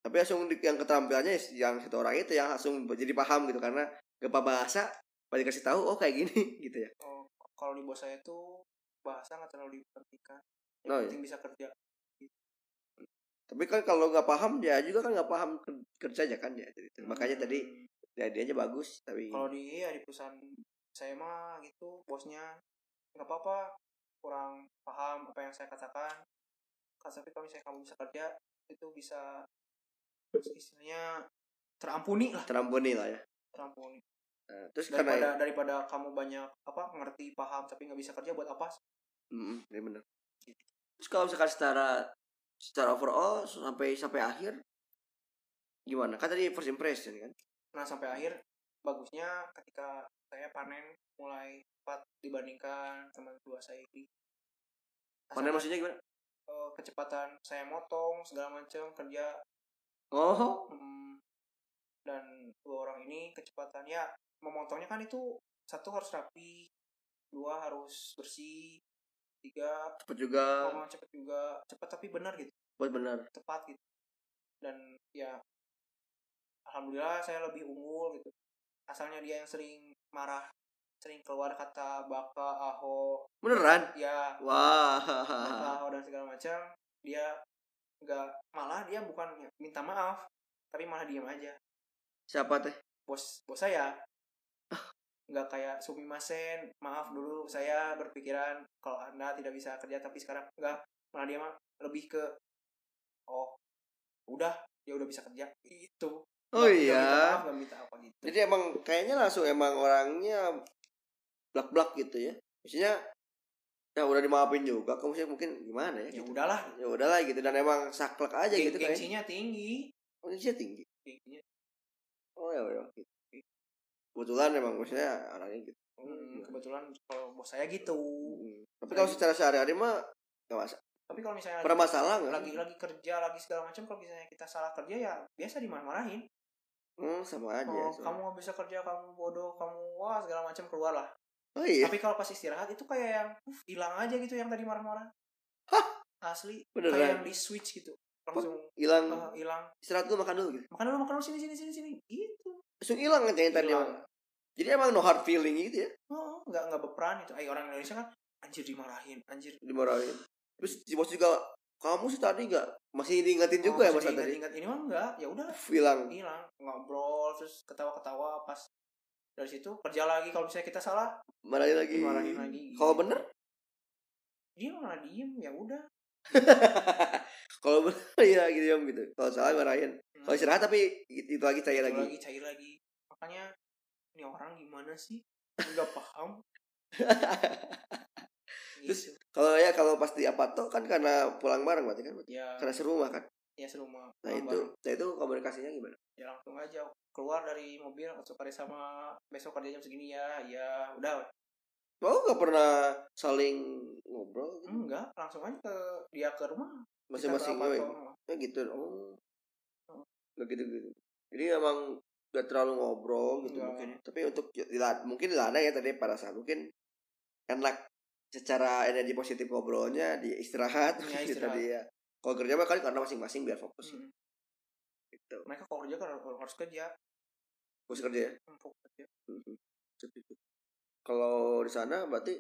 S1: Tapi langsung di- yang keterampilannya yang satu orang itu yang langsung jadi paham gitu karena gempa bahasa pada dikasih tahu oh kayak gini [LAUGHS] gitu ya.
S2: oh, kalau di bos saya tuh bahasa nggak terlalu diperhatikan yang
S1: Oh, iya.
S2: penting bisa kerja
S1: tapi kan kalau nggak paham dia juga kan nggak paham ker- kerjanya kan dia jadi itu. makanya tadi
S2: Hmm.
S1: ya, dia aja bagus tapi
S2: kalau di ya di perusahaan saya mah gitu bosnya nggak apa-apa kurang paham apa yang saya katakan Kan, tapi kalau misalnya kamu bisa kerja itu bisa istilahnya terampuni lah
S1: terampuni lah ya
S2: terampuni
S1: Nah, terus karena
S2: daripada daripada kamu banyak apa ngerti paham tapi nggak bisa kerja buat apa
S1: Mm, iya bener. terus kalau misalkan secara secara overall sampai sampai akhir gimana kan tadi first impression kan
S2: nah sampai akhir bagusnya ketika saya panen mulai cepat dibandingkan teman dua saya ini
S1: panen
S2: Asalkan,
S1: maksudnya gimana
S2: eh, kecepatan saya motong segala macam kerja
S1: oh
S2: Hmm, dan dua orang ini kecepatannya memotongnya kan itu satu harus rapi dua harus bersih tiga
S1: cepet juga
S2: ngomong cepet juga cepet tapi benar gitu
S1: buat benar
S2: tepat gitu dan ya alhamdulillah saya lebih unggul gitu asalnya dia yang sering marah sering keluar kata baka aho
S1: beneran
S2: ya
S1: wah
S2: atau dan segala macam dia nggak malah dia bukan minta maaf tapi malah diam aja
S1: siapa teh
S2: bos bos saya
S1: Ah.
S2: nggak kayak sumimasen maaf dulu saya berpikiran kalau anda tidak bisa kerja tapi sekarang nggak malah dia mah lebih ke oh udah dia udah bisa kerja itu
S1: oh
S2: Nggak- nggak minta
S1: iya
S2: maaf nggak minta apa gitu
S1: Jadi emang kayaknya langsung emang orangnya blak-blak gitu ya. Maksudnya ya udah dimaafin juga kamu sih mungkin gimana ya
S2: ya
S1: gitu.
S2: udahlah
S1: ya udahlah gitu dan emang saklek aja
S2: geng
S1: gitu kan ya.
S2: gengsinya tinggi
S1: Gengsinya tinggi
S2: Gengsinya-
S1: oh ya udah gitu. kebetulan emang maksudnya orangnya gitu
S2: Hmm, kebetulan kalau bos saya gitu
S1: Mm. tapi kalau secara sehari-hari mah gak masalah
S2: tapi kalau misalnya
S1: pernah masalah nggak
S2: lagi lagi kerja lagi segala macam kalau misalnya kita salah kerja ya biasa dimarah-marahin
S1: Hmm, sama aja
S2: oh,
S1: so.
S2: kamu nggak bisa kerja kamu bodoh kamu wah segala macam keluar lah
S1: oh iya
S2: tapi kalau pas istirahat itu kayak yang "Uf, hilang aja gitu yang tadi marah-marah
S1: Hah?
S2: asli kayak
S1: beneran
S2: yang di switch gitu langsung
S1: hilang
S2: "Ah, hilang
S1: istirahat dulu makan dulu gitu
S2: makan dulu makan dulu sini sini sini sini gitu
S1: langsung hilang kan yang tadi
S2: Hilang.
S1: emang. jadi emang no hard feeling gitu ya
S2: oh nggak nggak berperan itu ay orang Indonesia kan anjir dimarahin anjir
S1: dimarahin terus si bos juga kamu sih tadi nggak masih diingetin
S2: Oh,
S1: juga ya mas
S2: ingat,
S1: tadi
S2: ingat ini mah enggak ya udah
S1: hilang
S2: hilang ngobrol terus ketawa-ketawa pas dari situ kerja lagi kalau misalnya kita salah
S1: marahin lagi
S2: marahin lagi
S1: kalau bener
S2: dia malah diem ya udah
S1: kalau bener [LAUGHS] ya gitu ya gitu kalau salah marahin
S2: Nah,
S1: kalau istirahat tapi itu itu lagi cair
S2: itu
S1: lagi
S2: cair lagi makanya ini orang gimana sih nggak
S1: [LAUGHS]
S2: paham
S1: Terus-
S2: Gitu.
S1: kalau ya kalau pasti apa tuh kan karena pulang bareng berarti kan
S2: ya
S1: karena serumah kan
S2: ya serumah
S1: nah itu nah itu komunikasinya gimana
S2: ya langsung aja keluar dari mobil langsung kerja sama besok kerja jam segini ya ya udah
S1: mau nggak pernah saling ngobrol gitu?
S2: enggak langsung aja ke dia ke Hmm, rumah Hmm, Kita
S1: masing-masing
S2: ke apa-
S1: gue
S2: ke rumah.
S1: ya gitu oh nggak gitu gitu jadi emang gak terlalu ngobrol gitu
S2: Nggak.
S1: mungkin tapi untuk dila- mungkin dilana ya tadi pada saat mungkin enak secara energi positif ngobrolnya di istirahat
S2: Iya,
S1: [LAUGHS] gitu
S2: istirahat.
S1: tadi ya kalau kerja mah kali karena masing-masing biar fokus
S2: Mm.
S1: gitu
S2: mereka kalau kerja kan harus kerja
S1: fokus kerja ya
S2: Empuk kerja.
S1: Mhm. kalau di sana berarti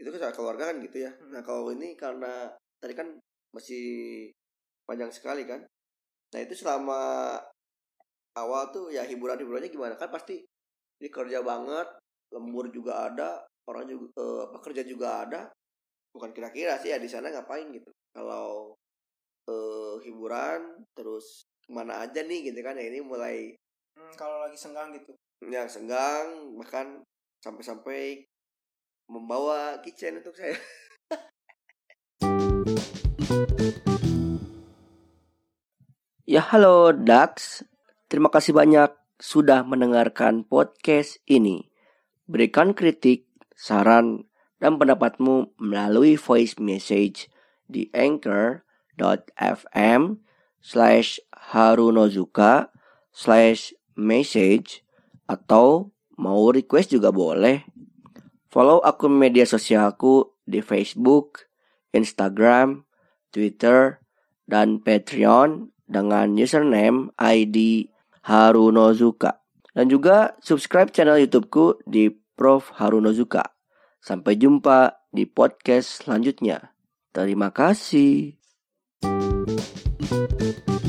S1: itu kan saat keluarga kan gitu ya
S2: Hmm.
S1: nah kalau ini karena tadi kan masih panjang sekali kan nah itu selama awal tuh ya hiburan hiburannya gimana kan pasti ini kerja banget lembur juga ada orang juga eh, apa, kerja juga ada bukan kira-kira sih ya di sana ngapain gitu kalau eh, hiburan terus kemana aja nih gitu kan ya ini mulai
S2: Hmm, kalau lagi senggang gitu
S1: yang Ya, senggang bahkan sampai-sampai membawa kitchen untuk saya ya halo Dax terima kasih banyak sudah mendengarkan podcast ini berikan kritik saran dan pendapatmu melalui voice message di anchor.fm slash harunozuka slash message atau mau request juga boleh. Follow akun media sosialku di Facebook, Instagram, Twitter, dan Patreon dengan username ID Harunozuka. Dan juga subscribe channel YouTubeku di Prof Harunozuka. Sampai jumpa di podcast selanjutnya. Terima kasih.